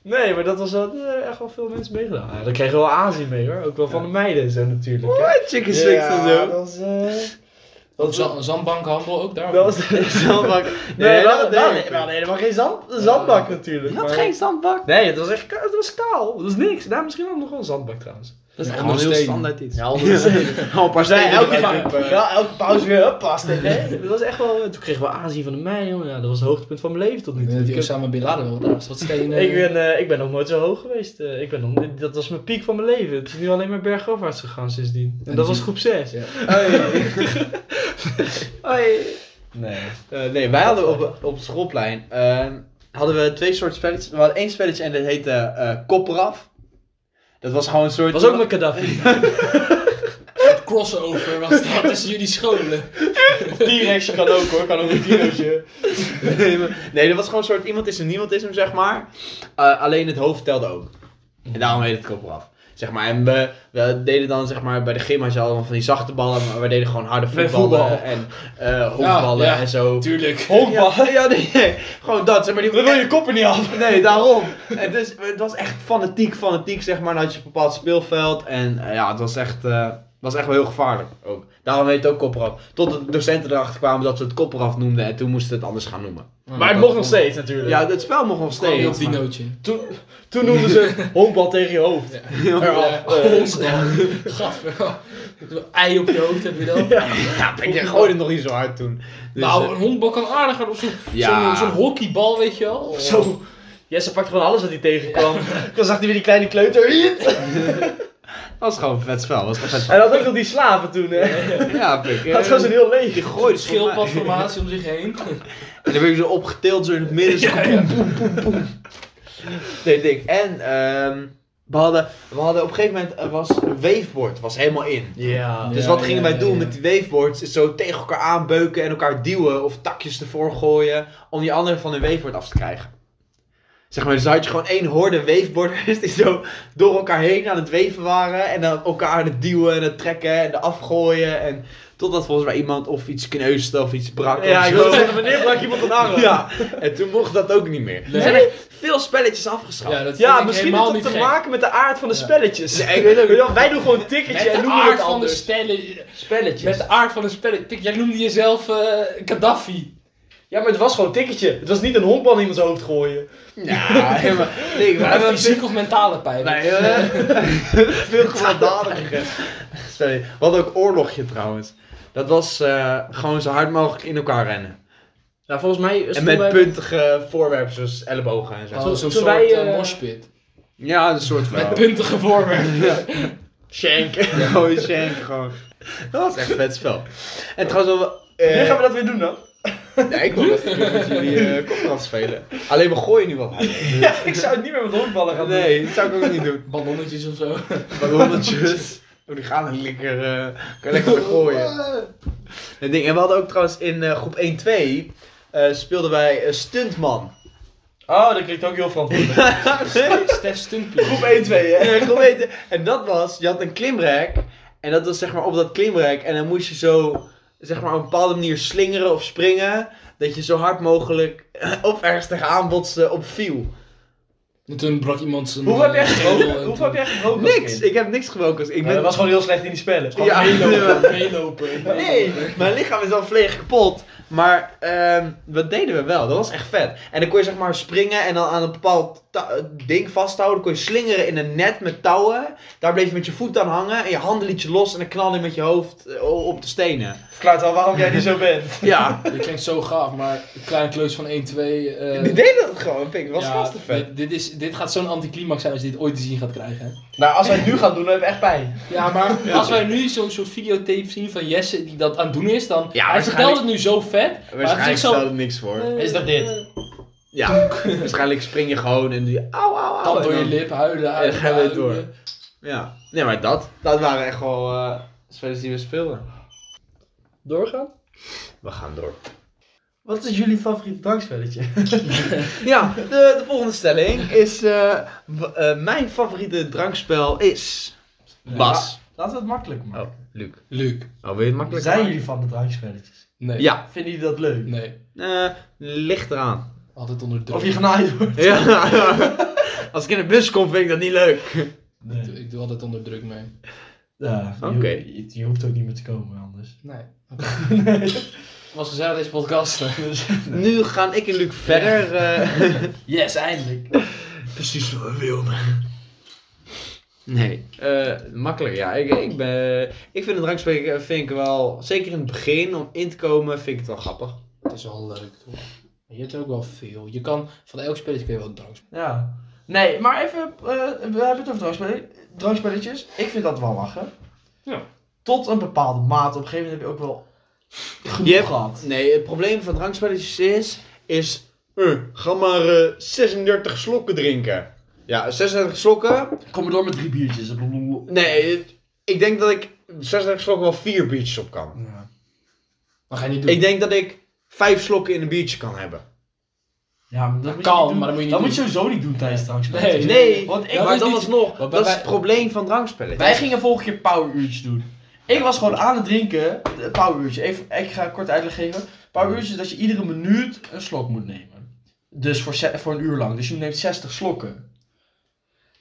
Nee, maar dat was wel, eh, echt wel veel mensen meegedaan. Ja, daar kregen we wel aanzien mee hoor. Ook wel van Ja. de meiden en zo natuurlijk. hè. Wat chicken sticks en Ja, zo. dat was... eh, Ook dat was... zand- Zandbankhandel, ook daar. Dat was *laughs* Zandbak. nee, we, hadden, we, dat hadden, we hadden helemaal geen zand, zandbak natuurlijk. Je had maar- geen zandbak. Nee, het was echt ka- het was kaal. Dat was niks. Daar misschien had nog wel een zandbak trouwens. Dat is Ja, een andere heel steen. standaard iets. *laughs* Ja, onder de Al een paar Nee, stenen elke, erbij pa- doen. ja, elke pauze weer uppast. Nee, *laughs* dat was echt wel... Toen kregen we aanzien van de meiden. jongen. Ja, dat was het hoogtepunt van mijn leven tot nu Ik toe. weet dat Ik die heb- Osama Bin Laden wel daar is. Wat stenen. Ik ben, eh, ik ben nog nooit zo hoog geweest. Eh, ik ben nog, dat was mijn piek van mijn leven. Het is nu alleen maar bergafwaarts gegaan sindsdien. En En dat was die- groep 6. eh, Ja. Hoi. Nee. Eh, nee, wij hadden op, op het schoolplein eh, hadden we twee soorten spelletjes. We hadden één spelletje en dat heette eh kop eraf. Dat was gewoon een soort. Dat was ook met Gaddafi. Een *laughs* crossover was dat tussen jullie *laughs* scholen. T-Rex kan ook hoor, kan ook een dinootje. nee, maar- nee, dat was gewoon een soort iemand is en niemand is hem, zeg maar. Eh, alleen het hoofd telde ook. En daarom heet het kop eraf. Zeg maar, en we, we deden dan zeg maar bij de gym had je allemaal van die zachte ballen, maar we deden gewoon harde Met voetballen voetbal. en eh honkballen Ja, ja. en zo. Tuurlijk. Honkballen? Ja, nee, nee. gewoon dat. Zeg maar, die... Dan wil je kop er niet af. Nee, daarom. En dus, het was echt fanatiek, fanatiek, zeg maar. Dan had je een bepaald speelveld. En eh, ja, het was echt, eh, was echt wel heel gevaarlijk ook. Daarom heet het ook kopperaf. Tot de docenten erachter kwamen dat ze het kopperaf noemden. En toen moesten ze het anders gaan noemen. Maar het mocht nog steeds natuurlijk. Ja, het spel mocht nog Gewoon op steeds. die maar- nootje. toen, toen noemden *laughs* ze honkbal tegen je hoofd. Eraf. Eh, ons dan. *laughs* Gadver. *laughs* Zo'n ei op je hoofd heb je dan. Ja, ik gooide het nog niet zo hard toen. Dus, eh, nou, een honkbal kan aardiger of zo'n Ja. Oh, zo'n- zo'n hockeybal, weet je wel. Zo. Jesse pakte gewoon alles wat hij tegenkwam. *laughs* Dan zag hij weer die kleine kleuter. dat was gewoon een vet spel. dat Was gewoon vet En had ook nog die slaven toen. Hè. spel. Ja, pik. eh, Dat was een heel leeg. Die gooide het voor mij. Schildpadformatie om zich heen. En dan ben ik zo opgetild zo in het midden. Zo poem, poem, poem, poem. Nee, dik. En ehm, we, hadden, we hadden op een gegeven moment eh, was een waveboard was helemaal in. Ja. Dus Ja, wat gingen ja, wij ja, doen ja. met die waveboards? Is zo tegen elkaar aanbeuken en elkaar duwen of takjes ervoor gooien. Om die andere van hun waveboard af te krijgen. Zeg maar, dus dan had je gewoon één horde waveboarders die zo door elkaar heen aan het weven waren. En dan elkaar aan het duwen en het trekken en het afgooien. En totdat volgens mij iemand of iets kneusde of iets brak. Ja, of ik zo. wilde zeggen, wanneer brak iemand een arm? Ja, en toen mocht dat ook niet meer. Nee. Er zijn echt veel spelletjes afgeschaft. dat vind Ja, ik misschien heeft helemaal dat niet te gek. maken met de aard van de Ja. spelletjes. Nee, ik weet *laughs* ook niet. Wij doen gewoon een ticketje Met en de noemen het aard van de anders. stellen. spelletjes. Met de aard van de spellen. Tik, Jij noemde jezelf eh Gaddafi. Ja, maar het was gewoon een ticketje. Het was niet een honkbal in iemands hoofd gooien. Ja, Nou, helemaal. Nee, we hebben veel, fysiek of mentale pijn. wij hebben Eh, *laughs* veel gewelddadige Sorry. We hadden ook oorlogje trouwens. Dat was eh, gewoon zo hard mogelijk in elkaar rennen. Ja, Nou, volgens mij eh, En stond met bij- puntige voorwerpen zoals ellebogen en zo. Zo'n toen soort wij, eh, eh, moshpit. Ja, een soort van. Met puntige voorwerpen. *laughs* Shank. Gooi shank gewoon. Dat was echt een vet spel. En trouwens, wel, eh, Wanneer gaan we dat weer doen dan? *laughs* nee, ik wil dat natuurlijk met jullie eh kopbrand spelen. Alleen we gooien nu wat. Ja, ik zou het niet meer met honkballen gaan doen. Nee, dat zou ik ook niet doen. Ballonnetjes of zo. Maar honderdjes. Oh, die gaan er lekker, eh, kan je lekker weer gooien. *laughs* Dat ding. En we hadden ook trouwens in eh, groep 1-2 eh, speelden wij eh, Stuntman. *laughs* Oh, dat klinkt ook heel verantwoordelijk. *laughs* Stef Stuntpie. Groep 1, 2, hè? En ik wil weten- En dat was, je had een klimrek. En dat was zeg maar op dat klimrek. En dan moest je zo, zeg maar op een bepaalde manier slingeren of springen. Dat je zo hard mogelijk *laughs* of ergens tegenaan botste op viel. En toen brak iemand zijn... Hoeveel heb jij eh, schedel gebroken? en Hoeveel heb jij gebroken? als Niks! kind? Ik heb niks gebroken. Dus ik Nou, ben... dat was gewoon heel slecht in die spellen. *laughs* toen- Ja. Meelopen, meelopen. Nee, mijn lichaam is al volledig kapot. Maar ehm dat deden we wel. Dat was echt vet. En dan kon je zeg maar springen en dan aan een bepaald ta- ding vasthouden. Dan kon je slingeren in een net met touwen. Daar bleef je met je voet aan hangen. En je handen liet je los en dan knalde je met je hoofd eh, op de stenen. Verklaart al waarom jij niet zo *laughs* bent. Ja, *laughs* Dit klinkt zo gaaf, maar een kleine kleus van 1, 2... eh, die deden dat gewoon, pik. Dat was ja, hartstikke vet. Dit, dit, is, dit gaat zo'n anticlimax zijn als je dit ooit te zien gaat krijgen. hè. Nou, als wij het nu gaan doen, dan hebben we echt pijn. *laughs* Ja, maar als wij nu zo'n soort videotape zien van Jesse die dat aan het doen is, dan... Ja, hij vertelt waarschijnlijk- het nu zo vet, maar het is echt zo... er niks voor. eh, Is dat dit? eh, Ja, waarschijnlijk spring je gewoon en doe je auw, auw, auw. Tand en door je dan- lip, huilen, En dan huilen, gaan we weer huilen. door. Ja, nee, maar dat. Dat waren echt wel eh spelers die we speelden. Doorgaan? We gaan door. Wat is jullie favoriete drankspelletje? Ja, de, de volgende stelling is... eh, w- eh, mijn favoriete drankspel is... *laughs* Bas. Laten we het makkelijk maken. Oh, Luc. Luc. Oh, wil je het makkelijk Zijn maken? jullie van de drankspelletjes? Nee. Ja. Vinden jullie dat leuk? Nee. Eh, ligt eraan. Altijd onder druk. Of je genaaid wordt? Ja. *laughs* Als ik in de bus kom, vind ik dat niet leuk. Ik doe- Ik doe altijd onder druk mee. Ja, je, Oké. je, je hoeft ook niet meer te komen anders. *laughs* Nee. Was gezellig deze podcast. Dus- Nu gaan ik en Luc verder. *laughs* eh, Yes, *laughs* eindelijk. precies wat we wilden. Nee, eh, makkelijk ja. Ik, ik, ben, ik vind het drankspelen vind ik wel, zeker in het begin, om in te komen, vind ik het wel grappig. *laughs* Het is wel leuk toch? Maar je hebt ook wel veel. Je kan van elk spelletje kun je wel drank Ja. Nee, maar even, eh, we hebben het over drankspelletjes. drankspelletjes. Ik vind dat wel lachen. Ja. Tot een bepaalde mate. Op een gegeven moment heb je ook wel genoeg Je hebt- gehad. Nee, het probleem van drankspelletjes is, is eh, ga maar eh, 36 slokken drinken. Ja, 36 slokken. Kom maar door met drie biertjes. Blablabla. Nee, het- ik denk dat ik 36 slokken wel vier biertjes op kan. Ja. Maar ga je niet doen. Ik denk dat ik vijf slokken in een biertje kan hebben. Ja, maar dat, moet je kan, niet doen. maar dat moet je niet doen. sowieso niet doen tijdens drankspelletjes. Nee. Want ik Ja, maar was dan niet... alsnog, Want dat bij- is bij- het probleem van drankspelletjes. Wij gingen vorige keer poweruurtjes doen. Ik was gewoon aan het drinken. eh, Poweruurtje. Even, ik ga kort uitleg geven. Poweruurtje is dat je iedere minuut een slok moet nemen. Dus voor, ze- voor een uur lang. Dus je neemt 60 slokken.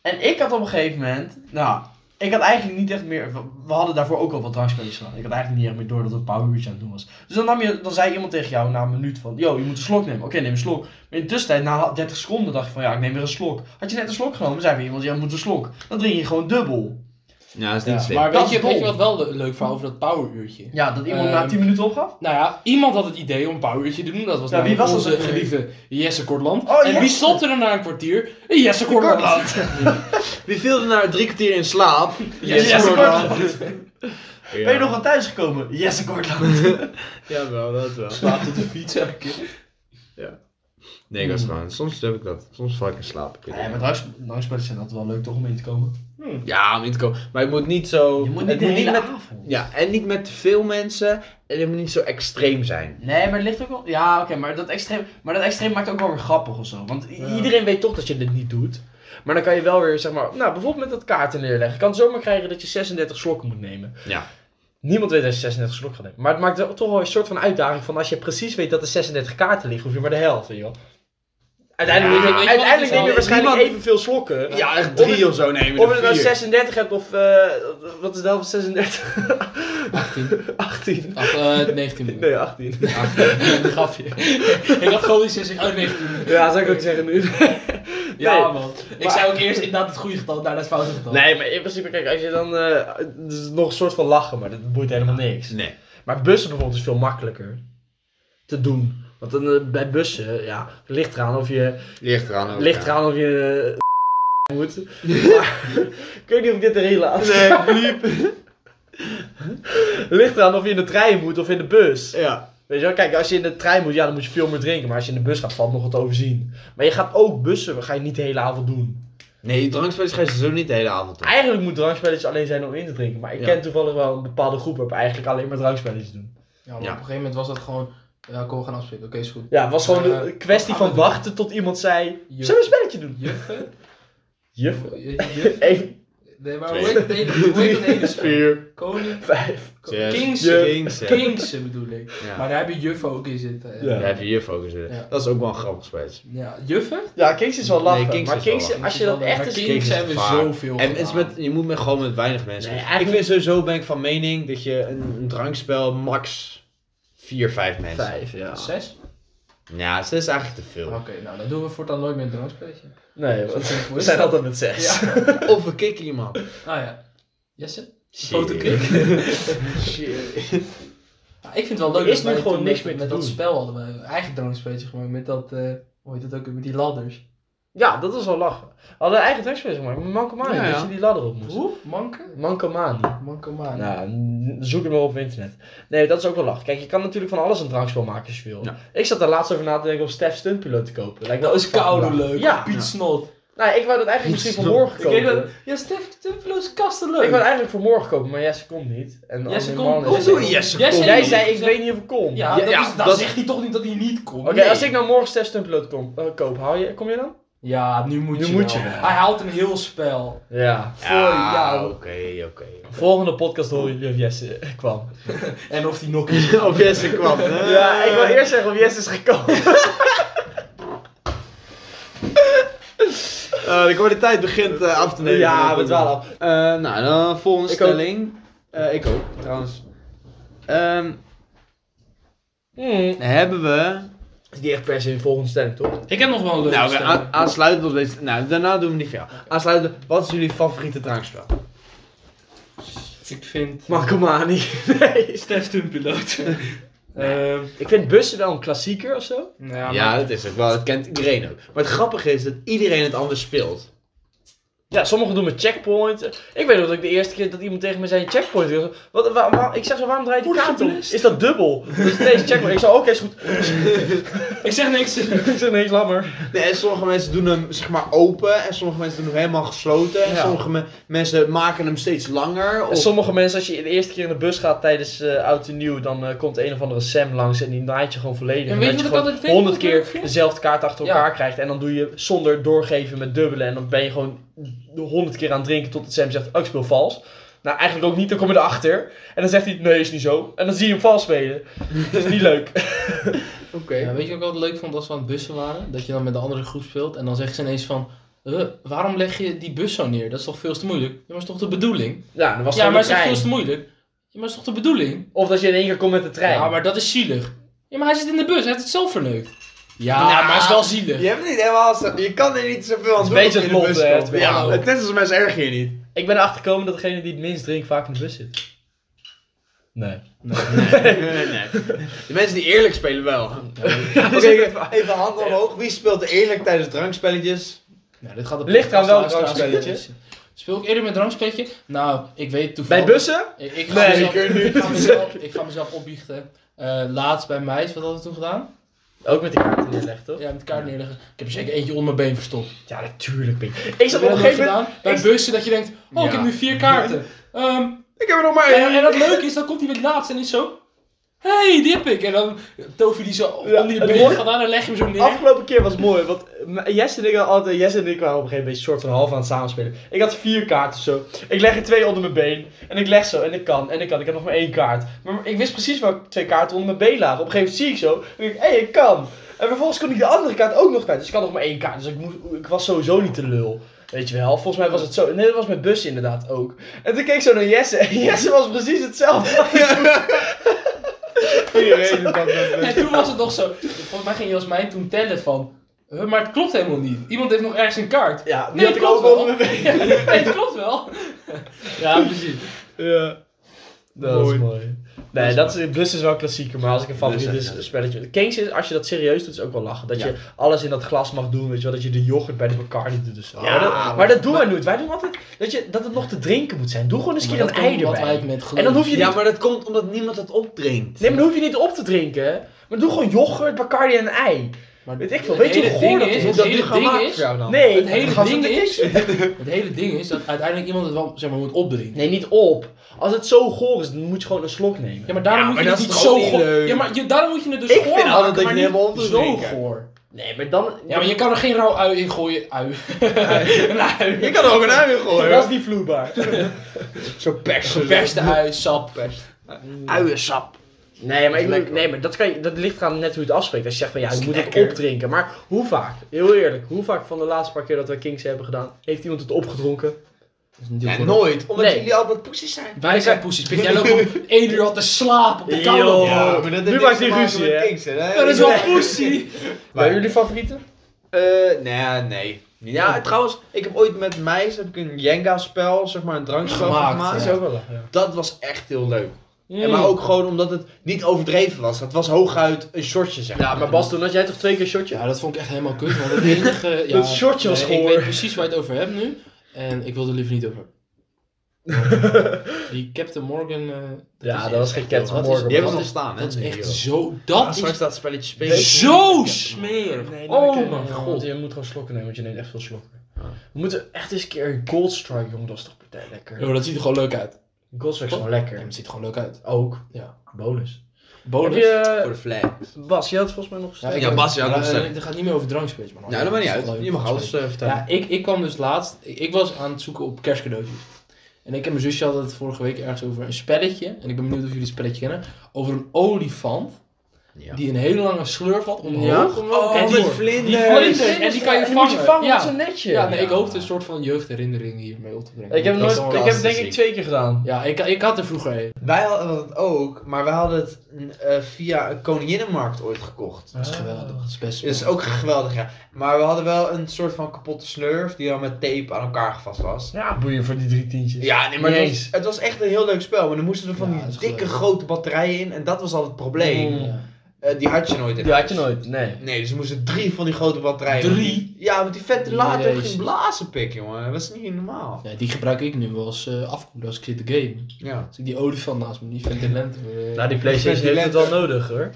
En ik had op een gegeven moment... Nou, ik had eigenlijk niet echt meer... we- We hadden daarvoor ook al wat drankspelletjes gedaan. Ik had eigenlijk niet echt meer door dat het poweruurtje aan het doen was. Dus dan, nam je, dan zei iemand tegen jou na een minuut van... Yo, je moet een slok nemen. Oké, neem een slok. Maar in de tussentijd, na 30 seconden, dacht je van... Ja, ik neem weer een slok. Had je net een slok genomen, zei weer iemand... Ja, je moet een slok. Dan drink je gewoon dubbel. Ja, dat is Ja, niet slim. maar Dat weet je, is weet je dom. wat wel een leuk verhaal over dat poweruurtje? Ja, dat iemand Ehm, na 10 minuten opgaf? Nou ja, iemand had het idee om een poweruurtje te doen. Dat was Ja, wie namelijk was dat onze ook weer? geliefde Jesse Kortland. Oh, en wie Jesse. stopte er na een kwartier? Jesse *laughs* Kortland. Wie viel er na drie kwartier in slaap? Jesse *laughs* Jesse Kortland. Ja. Ben je nog wel thuisgekomen? Jesse *laughs* Kortland. Jawel, dat wel. Slaat op de fiets elke keer. Nee, ik was gewoon. Soms heb ik dat. Soms val ik in slaap. Ik weet nee, niet. maar langs, langspelers zijn altijd wel leuk toch om in te komen. Ja, om in te komen. Maar je moet niet zo. Je moet het niet de hele met, avond. Ja, en niet met te veel mensen. En het moet niet zo extreem zijn. Nee, maar het ligt ook wel... Ja, oké, maar, dat extreem... maar dat extreem maakt ook wel weer grappig of zo. Want i- iedereen weet toch dat je dit niet doet. Maar dan kan je wel weer, zeg maar... Nou, bijvoorbeeld met dat kaarten neerleggen. Je kan het zomaar krijgen dat je 36 slokken moet nemen. Ja. Niemand weet dat je 36 slokken gaat nemen. Maar het maakt wel toch wel een soort van uitdaging van... Als je precies weet dat er 36 kaarten liggen, hoef je maar de helft, weet je wel. Uiteindelijk, Ja, neem je- weet je wat het uiteindelijk is? neem je Nou, waarschijnlijk niemand- evenveel slokken. Ja, echt drie drie of zo nemen. Of je er nou 36 hebt of... eh, wat is de helft van 36? 18. *laughs* 18. Ach, eh, 19. bedoel ik. Nee, 18. Een grapje. *laughs* ik had gewoon die 60 uit 19. Ja, zou ik ook zeggen nu. Ja, Nee. man. Ik Maar- zei ook eerst inderdaad het goede getal, daarna het foute *laughs* getal. Nee, maar in principe, kijk, als je dan... eh, het is nog een soort van lachen, maar dat boeit helemaal niks. Nee. Maar bussen bijvoorbeeld is veel makkelijker te doen. Want dan, eh, bij bussen, ja, ligt eraan of je Ligt eraan ook. Ligt Oh, ja. eraan of je *laughs* eh, moet. Maar, ik weet niet of ik dit erin laat. *laughs* Nee, bliep. Ligt eraan of je in de trein moet of in de bus. ja. Weet je wel, kijk, als je in de trein moet, ja, dan moet je veel meer drinken. Maar als je in de bus gaat, valt nog wat te overzien. Maar je gaat ook bussen, ga je niet de hele avond doen. Nee, drankspelers ga je zo niet de hele avond doen. Eigenlijk moet drankspelletjes alleen zijn om in te drinken. Maar ik Ja. ken toevallig wel een bepaalde groep waar eigenlijk alleen maar drankspelletjes doen. Ja, maar Ja. op een gegeven moment was dat gewoon, ja, kom, we gaan afspreken. Oké, is goed. Ja, het was gewoon Eh, een kwestie wat gaan van we wachten tot iemand zei, Juf- zullen we een spelletje doen? *laughs* Juffen? Juf. Juf- Juf? Eén, Nee, maar hoe Twee. heet het ene? Hoe heet het ene spel? Vier. Koning? vijf. ko- Kings? Juf. Kings. ja. Kingsen bedoel ik. Ja. Maar daar heb je juffen ook in zitten. hè. Ja. Daar heb je hier focus in. Ja. Dat is ook wel een grappig spelletje. Ja, juffen? Ja, Kings is wel Nee, lachen. Kings maar is wel Kings, lachen. als je dat echt Maar eens Kings Kings is hebben vaak. zoveel En mensen gedaan. met, je moet met, gewoon met weinig mensen. Nee, ik eigenlijk- vind sowieso ben ik van mening dat je een, een drankspel max 4, 5 mensen. Vijf, ja. Zes? Ja, 6 is eigenlijk te Oké, veel. nou dan doen we voortaan nooit meer een drankspelletje. Nee, Zo want simpel we is zijn dat. altijd met zes. *laughs* Ja. Of we kicken iemand. Ah ja. Jesse? Shit. *laughs* Ja, ik vind het wel leuk Er is dat nu wij gewoon toen niks met, meer te met dat doen. spel hadden wij een eigen drankspelletje gemaakt. Met dat, eh hoe heet dat ook, met die ladders. Ja, dat was wel lachen. We hadden een eigen tekstspel gemaakt, maar Mankomani, Ja, ja. dat je die ladder op moest. Hoe? Manken? Mankomani. Mankomaan. Nou, n- zoek het maar op internet. Nee, dat is ook wel lachen. Kijk, je kan natuurlijk van alles een drankspel maken als je wil. Ja. Ik zat er laatst over na te denken om Stef Stuntpilot te kopen. Lijkt me dat ook is fucking koude lachen. leuk. Ja. Piet Snot. Nou, ik wou dat eigenlijk misschien voor morgen Ik weet dat... kopen. Ja, Stef Tuppeloos kasten Ik leuk. wou het eigenlijk voor morgen kopen, maar Jesse komt niet. En Jesse Anne komt. Mannen Hoezo zei- Jesse komt? Jesse heeft Jij niet zei, ik gezegd- weet niet of ik kom. Ja, Ja, dat, ja, is, dat dat- zegt hij toch niet dat hij niet komt? Oké, Nee. als ik nou morgen Stef Stuntpilot kom- eh, koop, haal je, kom je dan? Ja, nu moet Nu je moet wel. je wel. Hij haalt een heel spel. Ja. Voor Ja, jou. oké, oké. Volgende podcast hoor je of Jesse kwam. En of hij nog is. *laughs* Of Jesse kwam. hè? Ja, ik wil eerst zeggen of Jess is gekomen. Eh, de kwaliteit begint eh, af te nemen. ja, we dwalen af. Eh, nou, dan volgende Ik ook. stelling. Eh, ik ook, trouwens. Ehm, Hmm. hebben we... Is die echt per se een volgende stelling, toch? Ik heb nog wel een leuke Nou, stem. oké, a- aansluitend op deze... Nou, daarna doen we die van jou. Aansluitend, wat is jullie favoriete drankspel? Ik vind... Makomani. Nee. Stef *laughs* Tumpiloot. Ik vind bussen wel een klassieker of zo. Eh, nou ja, Ja, dat is ook wel. Dat kent iedereen ook. Maar het grappige is dat iedereen het anders speelt. Ja, sommigen doen met checkpoint. Ik weet nog dat ik de eerste keer dat iemand tegen me zei checkpoint. Ik dacht, Wat, waar- waar- ik zeg zo, waarom draai je die Wordt kaart om? geblest. Is dat dubbel? Dus deze checkpoint. Ik zei, oké, is goed. *laughs* Ik zeg niks. Ik zeg, nee, is lammer. Nee, en sommige mensen doen hem zeg maar open. En sommige mensen doen hem helemaal gesloten. En Ja. sommige me- mensen maken hem steeds langer. En Of... sommige mensen, als je de eerste keer in de bus gaat tijdens eh oud en nieuw, dan eh, komt een of andere Sam langs en die naait je gewoon volledig. En weet je dat wat ik gewoon altijd vind, 100 keer Marvin? dezelfde kaart achter Ja. elkaar krijgt en dan doe je zonder doorgeven met dubbelen en dan ben je gewoon de 100 keer aan het drinken totdat Sam zegt, oh ik speel vals. Nou, eigenlijk ook niet, dan kom je erachter. En dan zegt hij, nee, is niet zo. En dan zie je hem vals spelen. Dat is niet leuk. Oké. Ja, weet je wat ik altijd leuk vond als we aan het bussen waren? Dat je dan met de andere groep speelt en dan zeggen ze ineens van... "Huh, waarom leg je die bus zo neer? Dat is toch veel te moeilijk? Ja, maar is toch de bedoeling? Ja, dan was het *laughs* ja, maar gewoon is de toch trein. veel te moeilijk? Ja, maar is toch de bedoeling? Of dat je in één keer komt met de trein. Ja, maar dat is zielig. Ja, maar hij zit in de bus. Hij heeft het zelf verneukt. Ja, maar is wel zielig. Je hebt niet helemaal... zo- Je kan er niet zoveel aan Het doen. is als je een beetje in de het bus lot, hè, komt. het is Ja, wel- het is als mensen erg je niet. Ik ben erachter gekomen dat degene die het minst drinkt vaak in de bus zit. Nee. Nee, nee, *laughs* nee. De mensen die eerlijk spelen wel. *laughs* Oké, even, even handen omhoog. Wie speelt er eerlijk tijdens drankspelletjes? Nou, dit gaat op- Ligt eraan welk Luisteraars- drankspelletje. Speel ik eerder met drankspelletje? Nou, ik weet Bij toevallig... bussen? Ik, Nee, ik, ga ik mezelf, weet niet. ik, ga mezelf, ik ga mezelf opbiechten. Eh, laatst bij meis, wat hadden we toen gedaan? Ook met die kaarten neerleggen, toch? Ja, met kaart neerleggen. Ik heb er zeker eentje onder mijn been verstopt. Ja, natuurlijk, Pink. Ik zat op een Heb je dat nooit gegeven moment... gedaan? Bij ik- bussen dat je denkt, oh, ik Ja. heb nu vier kaarten. Ehm, *laughs* Ik heb er nog maar en, één. en dat leuke is, dan komt hij met laatst en is zo... Hé, hey, die heb ik. En dan tof je die zo Ja, onder je het been wordt- gaat aan en leg je hem zo De neer. afgelopen keer was mooi, want eh, Jess en ik, waren altijd, Jess en ik waren op een gegeven moment soort van half aan het samenspelen. Ik had vier kaarten zo. Ik leg er twee onder mijn been. En ik leg zo en ik kan en ik kan. Ik heb nog maar één kaart. Maar ik wist precies welke twee kaarten onder mijn been lagen. Op een gegeven moment zie ik zo. En ik denk, hé, ik kan. En vervolgens kon ik de andere kaart ook nog kwijt. Dus ik had nog maar één kaart. Dus ik, moest, ik was sowieso niet te lul. Weet je wel, volgens mij was het zo. Nee, dat was met bussen inderdaad ook. En toen keek ik zo naar Jesse. En *laughs* Jesse was precies hetzelfde. Iedereen doet dat met En toen was het nog zo... Volgens mij ging je als mij toen tellen van... "Huh, maar het klopt helemaal niet. Iemand heeft nog ergens een kaart. Ja, die Nee, had het ik ook klopt onder wel. *laughs* mijn been. Ja, nee, het klopt wel. Ja, precies. Ja, dat Mooi. is mooi. Nee, dat is, Blus is wel een klassieker, maar als ik een favoriet Blus is, is- ja. spelletje. Kings is, als je dat serieus doet, is ook wel lachen. Dat Ja. je alles in dat glas mag doen, weet je wel. Dat je de yoghurt bij de Bacardi doet dus zo. Ja, maar, dat, maar maar- dat doen wij nooit. Wij doen altijd dat, je, dat het nog te drinken moet zijn. Doe gewoon eens een keer dat een komt ei omdat wij erbij. het met geloof. En dan hoef je niet... Ja, maar dat komt omdat niemand het opdrinkt. Nee, maar dan hoef je niet op te drinken, hè. Maar doe gewoon yoghurt, Bacardi en een ei. Maar Weet ik veel. Weet je Het hoe goor hele dat ding is? is- Hoe Moet dat dat nu het hele gaan ding maken is- voor jou dan? Nee. Het hele gast, ding dat is- *laughs* het hele ding is dat uiteindelijk iemand het wel zeg maar, moet opdrinken. Nee, niet op. Als het zo goor is, dan moet je gewoon een slok nemen. Ja, maar daarom Ja, moet je maar dat het niet is toch zo ook niet goor. leuk? Ja, maar je, daarom moet je het dus Ik goor vind maken, altijd dat je maar het helemaal niet op moet zo drinken. goor. Nee, maar dan... Ja, maar je kan er geen rauw ui in gooien. Ui. een ui. Je kan er ook een ui in Dat is gooien. niet vloeibaar. Zo pers. Geperste ui, sap. Uiensap. Nee, maar, ik Lekker, bedoel- nee, maar dat, kan je, dat ligt eraan net hoe je het afspreekt. Als je zegt van ja, Dat is ik moet lekker. het opdrinken. Maar hoe vaak? Heel eerlijk, hoe vaak van de laatste paar keer dat wij Kings hebben gedaan, heeft iemand het opgedronken? Ja, nooit. Omdat Nee. jullie altijd poesies zijn. Wij zijn poesies. Pik, jij loopt om één uur al te slapen op de Yo. koude. Ja, maar dat heeft niks te maken met Dat is wel poesie. Waren jullie favorieten? Eh, nee, nee. Ja, trouwens, ik heb ooit met meisjes heb ik een Jenga-spel, zeg maar een drankspel van Gemaakt, gemaakt. Mm. Dat is ja. ook wel Mm. lachen, Dat was echt heel leuk. ja. En maar ook gewoon omdat het niet overdreven was. Het was hooguit een shortje, zeg maar. Ja, maar Bas, toen had jij toch twee keer shotje? Ja, dat vond ik echt helemaal kut. Want *laughs* het enige... Ja, Dat shortje was nee, Ik goor. weet precies waar je het over hebt nu. En ik wil er liever niet over. Die Captain Morgan... eh, Ja, is dat echt was geen heel- Captain dat is- Morgan, Die hebben Dat we nog is, staan, hè? dat nu, is echt joh. zo... Ja, Dat straks is dat spelletje spelen. zo smerig. oh mijn god. Je moet gewoon slokken nemen, want je neemt echt veel slokken. We moeten echt eens een keer een Gold Strike, jongen, dat is toch partij lekker. Yo, dat ziet er gewoon leuk uit. Gold Strike is gewoon Ja, lekker. het ziet er gewoon leuk uit. Ook. Ja. Bonus. Bonus. Heb je, Voor de flag. Bas, jij had volgens mij nog een Ja, Bas, ja, maar, dat is eh, leuk. Het gaat niet meer over drankspelletjes, man. Nou, dat maakt niet Het is wel uit. leuk, Je mag alles drankspelletjes. eh, vertellen. Ja, ik, ik kwam dus laatst... Ik, ik was aan het zoeken op kerstcadeautjes. En ik en mijn zusje hadden het vorige week ergens over een spelletje. En ik ben benieuwd of jullie het spelletje kennen. Over een olifant. Ja. Die een hele lange slurf had omhoog. Ja? omhoog en Oh, die, met die vlinders. vlinders. En die kan je moet je vangen. vangen Ja. met zo'n netje. Ja, nee, ik Ja. hoopte een soort van jeugdherinnering hiermee op te brengen. Ik heb, Dat is nooit, ik wel- heb denk ik klassiek. twee keer gedaan. Ja, ik, ik had er vroeger een. Wij hadden het ook, maar wij hadden het eh, via een koninginnenmarkt ooit gekocht. Dat is geweldig. Dat is best Dat is ook geweldig, ja. Maar we hadden wel een soort van kapotte slurf die dan met tape aan elkaar gevast was. Ja, boeien voor die drie tientjes. Ja, nee, maar het Jeez. was, het was echt een heel leuk spel. Maar dan moesten er van Ja, die dat is dikke geweldig. grote batterijen in en dat was al het probleem. Mm. Ja. Eh, die had je nooit in Die had huis. je nooit, nee. Nee, dus er moesten drie van die grote batterijen. Drie? Ja, want die ventilator Jezus. ging blazen pik, jongen. Dat is niet normaal. Ja, die gebruik ik nu wel als eh afkoeling als ik zit te gamen. Ja. Dus Als ik die olifant naast me niet vind in lente. eh. Nou, die Playstation heeft het wel nodig hoor.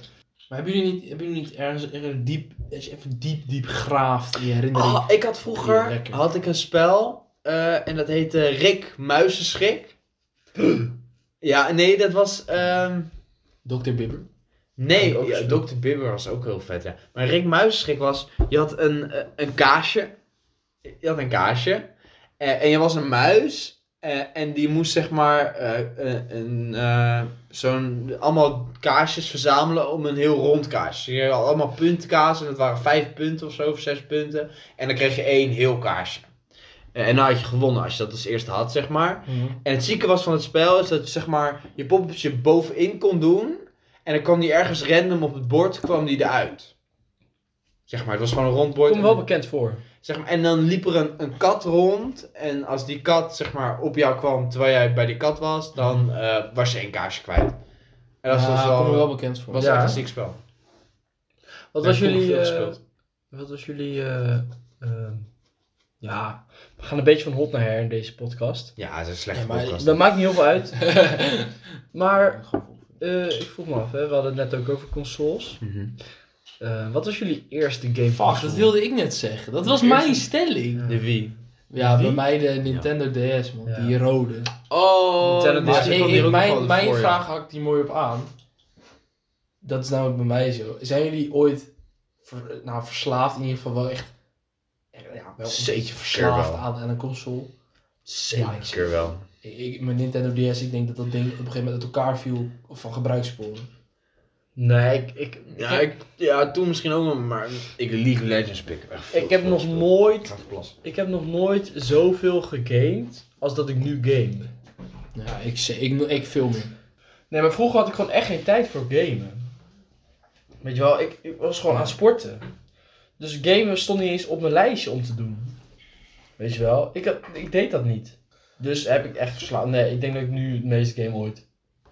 Maar hebben jullie niet, hebben jullie niet ergens, ergens diep, als je even diep, diep graaft in je herinnering? Ah, ik had Ja, vroeger lekker. had ik een spel eh, en dat heette Rick *gasps* Muizenschrik. ja, nee, dat was. ehm, Dr. Bibber. nee, Ook een ja, spel. Dr. Bibber was ook heel vet, ja. Maar Rick Muizenschrik was. Je had een, eh, een kaasje. Je had een kaasje. eh, en je was een muis. eh, en die moest zeg maar eh, eh, een, eh, zo'n, allemaal kaasjes verzamelen om een heel rond kaasje. Je had allemaal puntkaas en dat waren vijf punten of zo, of zes punten. En dan kreeg je één heel kaarsje. Eh, En dan had je gewonnen als je dat als eerste had, zeg maar. Mhm. En het zieke was van het spel is dat zeg maar, je poppetje bovenin kon doen. En dan kwam die ergens random op het bord, kwam die eruit. Zeg maar, het was gewoon een rond bord. Komt me wel bekend voor. Zeg maar, en dan liep er een, een kat rond. En als die kat zeg maar, op jou kwam terwijl jij bij die kat was, dan eh, was je één kaarsje kwijt. En dat Ja, was wel, kom er wel bekend voor. was Ja. echt een ziek spel. Wat Ja, was ik heb jullie... veel eh, gespeeld. wat was jullie... eh, ehm, ja, we gaan een beetje van hot naar her in deze podcast. Ja, het is een slechte Ja, maar- podcast. Dat maakt niet heel veel uit. *laughs* maar eh, ik vroeg me af, hè. we hadden het net ook over consoles. Mhm. Eh, wat was jullie eerste game Fuck, dat wilde ik net zeggen. Dat was mijn stelling. De wie? Ja, bij Wie? mij de Nintendo DS, man. Ja. Die rode. Oh, Nintendo maar DS. Maar ik- ik, ik- ik, mijn- mijn mijn vraag hakt die mooi op aan. Dat is namelijk bij mij zo. Zijn jullie ooit ver- nou, verslaafd, in ieder geval wel echt... eh, Ja, wel een Zeker beetje verslaafd wel. aan, aan een console? Ja, ik zeg- Zeker wel. Ik, ik- mijn Nintendo DS, ik denk dat dat ding op een gegeven moment uit elkaar viel of van gebruikssporen. Nee, ik, ik, Ja, ik, ja, toen misschien ook wel, maar ik League of Legends pick. Echt veel ik heb veel nog gespeeld. Ik nooit ga even plassen. Ik heb nog nooit zoveel gegamed als dat ik nu game. Ja, ik, ze- ik, ik, veel meer. Nee, maar vroeger had ik gewoon echt geen tijd voor gamen. Weet je wel, ik, ik was gewoon aan het sporten. Dus gamen stond niet eens op mijn lijstje om te doen. Weet je wel, ik, had, ik deed dat niet. Dus heb ik echt verslaafd. Nee, ik denk dat ik nu het meeste game ooit.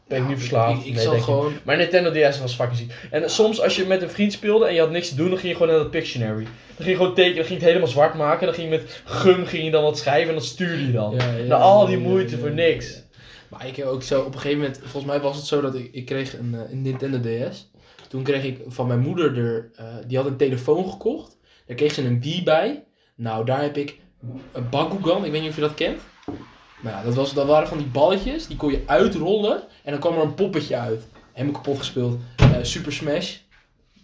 Ben ik nu verslaafd? Ik, ik nee, zal denk ik gewoon... niet. Maar Nintendo DS was fucking ziek. En soms als je met een vriend speelde en je had niks te doen, dan ging je gewoon naar dat Pictionary. Dan ging je gewoon tekenen, dan ging je het helemaal zwart maken. Dan ging je met gum ging je dan wat schrijven en dat stuurde je dan. Ja, ja, Na al die ja, moeite ja, voor ja. niks. Maar ik heb ook zo op een gegeven moment, volgens mij was het zo dat ik, ik kreeg een, eh, een Nintendo DS. Toen kreeg ik van mijn moeder er, eh, die had een telefoon gekocht. Daar kreeg ze een Wii bij. Nou, daar heb ik een Bakugan, ik weet niet of je dat kent. Maar ja, dat, was, dat waren van die balletjes, die kon je uitrollen en dan kwam er een poppetje uit. Helemaal kapot gespeeld. Eh, Super Smash.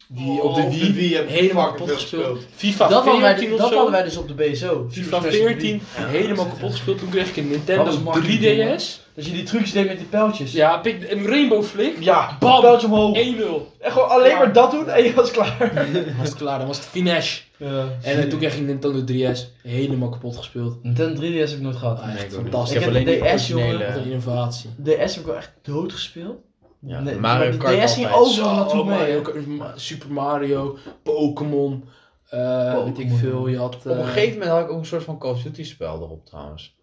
Die Oh, op de Wii, helemaal kapot gespeeld. FIFA Dat hadden, 14 wij, of dat zo. hadden wij dus op de BSO. FIFA Super Smash 14, 3. helemaal kapot gespeeld. Toen kreeg ik een Nintendo Dat was makkelijk, 3DS. Dat je die trucjes deed met die pijltjes. Ja, pik, een Rainbow Flick. ja Bam! pijltje omhoog. 1-0. En gewoon alleen maar dat doen en je was klaar. Dan *laughs* was het klaar, dan was het finesse. Ja. En eh, toen kreeg ik Nintendo 3DS helemaal kapot gespeeld. Nintendo 3DS heb Oh, ik nooit gehad. Ah, echt ook niet. fantastisch. Ik heb alleen die DS, jongen. originele- eh, Wat een innovatie. DS heb ik wel echt doodgespeeld. Ja, Nee, Mario de Kart DS ging altijd. overal naartoe Oh, Mario mee. Kart, Ma- Super Mario, Pokémon, eh, Pokémon. weet ik veel. Je had, eh, Op een gegeven moment had ik ook een soort van Call of Duty spel erop trouwens.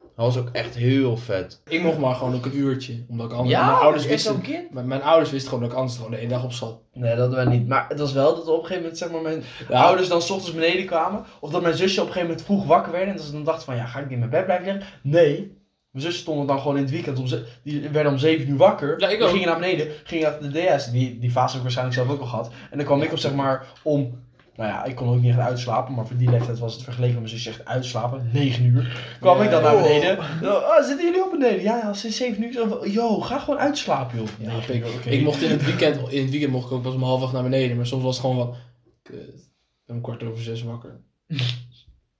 Dat was ook echt heel vet. ik mocht maar gewoon ook een uurtje, omdat ik anders... Ja, mijn, ouders dat is echt wisten, zo'n kind. mijn, mijn ouders wisten gewoon dat ik anders gewoon de hele dag op zat. Nee, dat hadden wij niet. Maar het was wel dat op een gegeven moment zeg maar, mijn Ja, ouders dan 's ochtends beneden kwamen. Of dat mijn zusje op een gegeven moment vroeg wakker werd. En dat ze dan dacht van, ja, ga ik niet in mijn bed blijven liggen? Nee. Mijn zusje stond dan gewoon in het weekend. Om ze- die werden om 7 uur wakker. Ja, ik die ook. gingen naar beneden. Gingen naar de DS. Die, die fase heb ik waarschijnlijk zelf ook al gehad. En dan kwam ik op zeg maar om... Nou ja, ik kon ook niet echt uitslapen. Maar voor die leeftijd was het vergeleken met mijn zusje echt uitslapen. 9 uur. Kwam ik dan naar beneden. Dan, oh, zitten jullie op beneden? Ja, ja, sinds 7 uur. Zo van, Yo, ga gewoon uitslapen, joh. Ja, Negen ik, uur, oké. ik mocht in het weekend, in het weekend mocht ik ook pas om half acht naar beneden, maar soms was het gewoon van, kut, ik ben om kwart over zes wakker.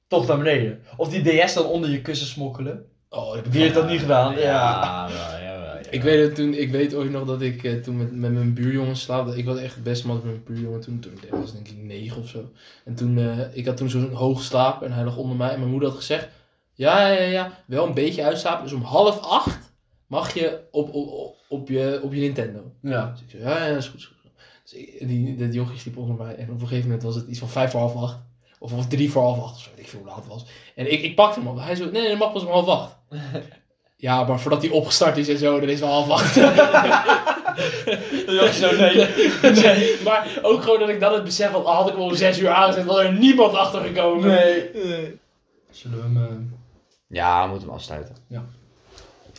toch naar beneden. Of die DS dan onder je kussen smokkelen. Oh, ik Wie heeft dat niet gedaan? Ja. wel, jawel, Ik weet, het toen, ik weet ooit nog dat ik eh, toen met, met mijn buurjongen slaapde. Ik was echt best man met mijn buurjongen toen. Toen ik was denk ik negen of zo. En toen, eh, ik had toen zo'n hoog slaap en hij lag onder mij. En mijn moeder had gezegd, ja, ja, ja, ja, wel een beetje uitslapen. Dus om half acht mag je op, op, op, op je, op je Nintendo. Ja. Dus ik zei, ja, ja, is goed. Is goed. Dus ik, die, dat jochie sliep onder mij. En op een gegeven moment was het iets van vijf voor half acht. Of, of drie voor half acht, of zo, weet ik veel hoe laat het was. En ik, ik pakte hem op. Hij zo, nee, dat mag pas om half acht. ja, maar voordat hij opgestart is en zo, dan is het al half acht. *laughs* Dan dacht je zo, *laughs* nee. Nee, maar ook gewoon dat ik dan het besef had, al had ik hem om zes uur aangezet, was er niemand achter gekomen. Nee. Zullen we hem... eh, Ja, we moeten hem afsluiten. Ja.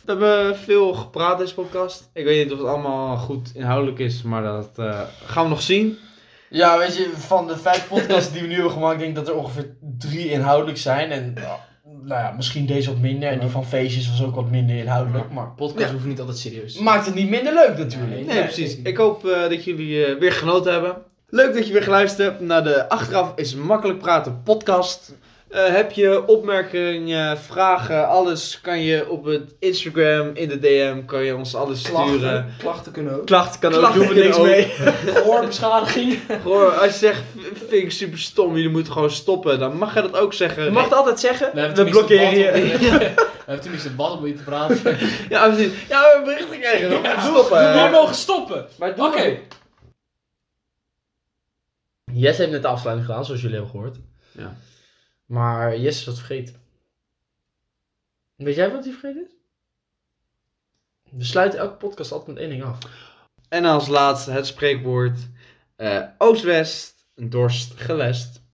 We hebben veel gepraat deze podcast. Ik weet niet of het allemaal goed inhoudelijk is, maar dat eh, gaan we nog zien. Ja, weet je, van de vijf podcasts die we nu hebben gemaakt, denk ik dat er ongeveer drie inhoudelijk zijn. En nou ja, misschien deze wat minder. En die van feestjes was ook wat minder inhoudelijk. Maar Podcasts hoeven niet altijd serieus. maakt het niet minder leuk natuurlijk. Nee, precies. Ik hoop eh, dat jullie eh, weer genoten hebben. Leuk dat je weer geluisterd hebt naar de Achteraf is Makkelijk Praten podcast. Eh, heb je opmerkingen, vragen, alles kan je op het Instagram, in de DM, kan je ons alles sturen. klachten kunnen ook. Klachten kan Klachten ook, doen we niks kunnen ook. mee. Gehoorbeschadiging. Hoor, als je zegt, "V- vind ik super stom, jullie moeten gewoon stoppen, dan mag je dat ook zeggen. Je mag het altijd zeggen. We hebben We tenminste blokkeren wat om- je. We hebben tenminste wat om je te praten. Ja, precies. Ja, we hebben berichten gekregen, dan moet je stoppen. Jullie mogen stoppen. Maar doe Oké. het. Jess heeft net de afsluiting gedaan, zoals jullie hebben gehoord. Ja. Maar Jess is wat vergeten. Weet jij wat hij vergeten is? We sluiten elke podcast altijd met één ding af. En als laatste het spreekwoord. eh Oost-West, dorst, gelest.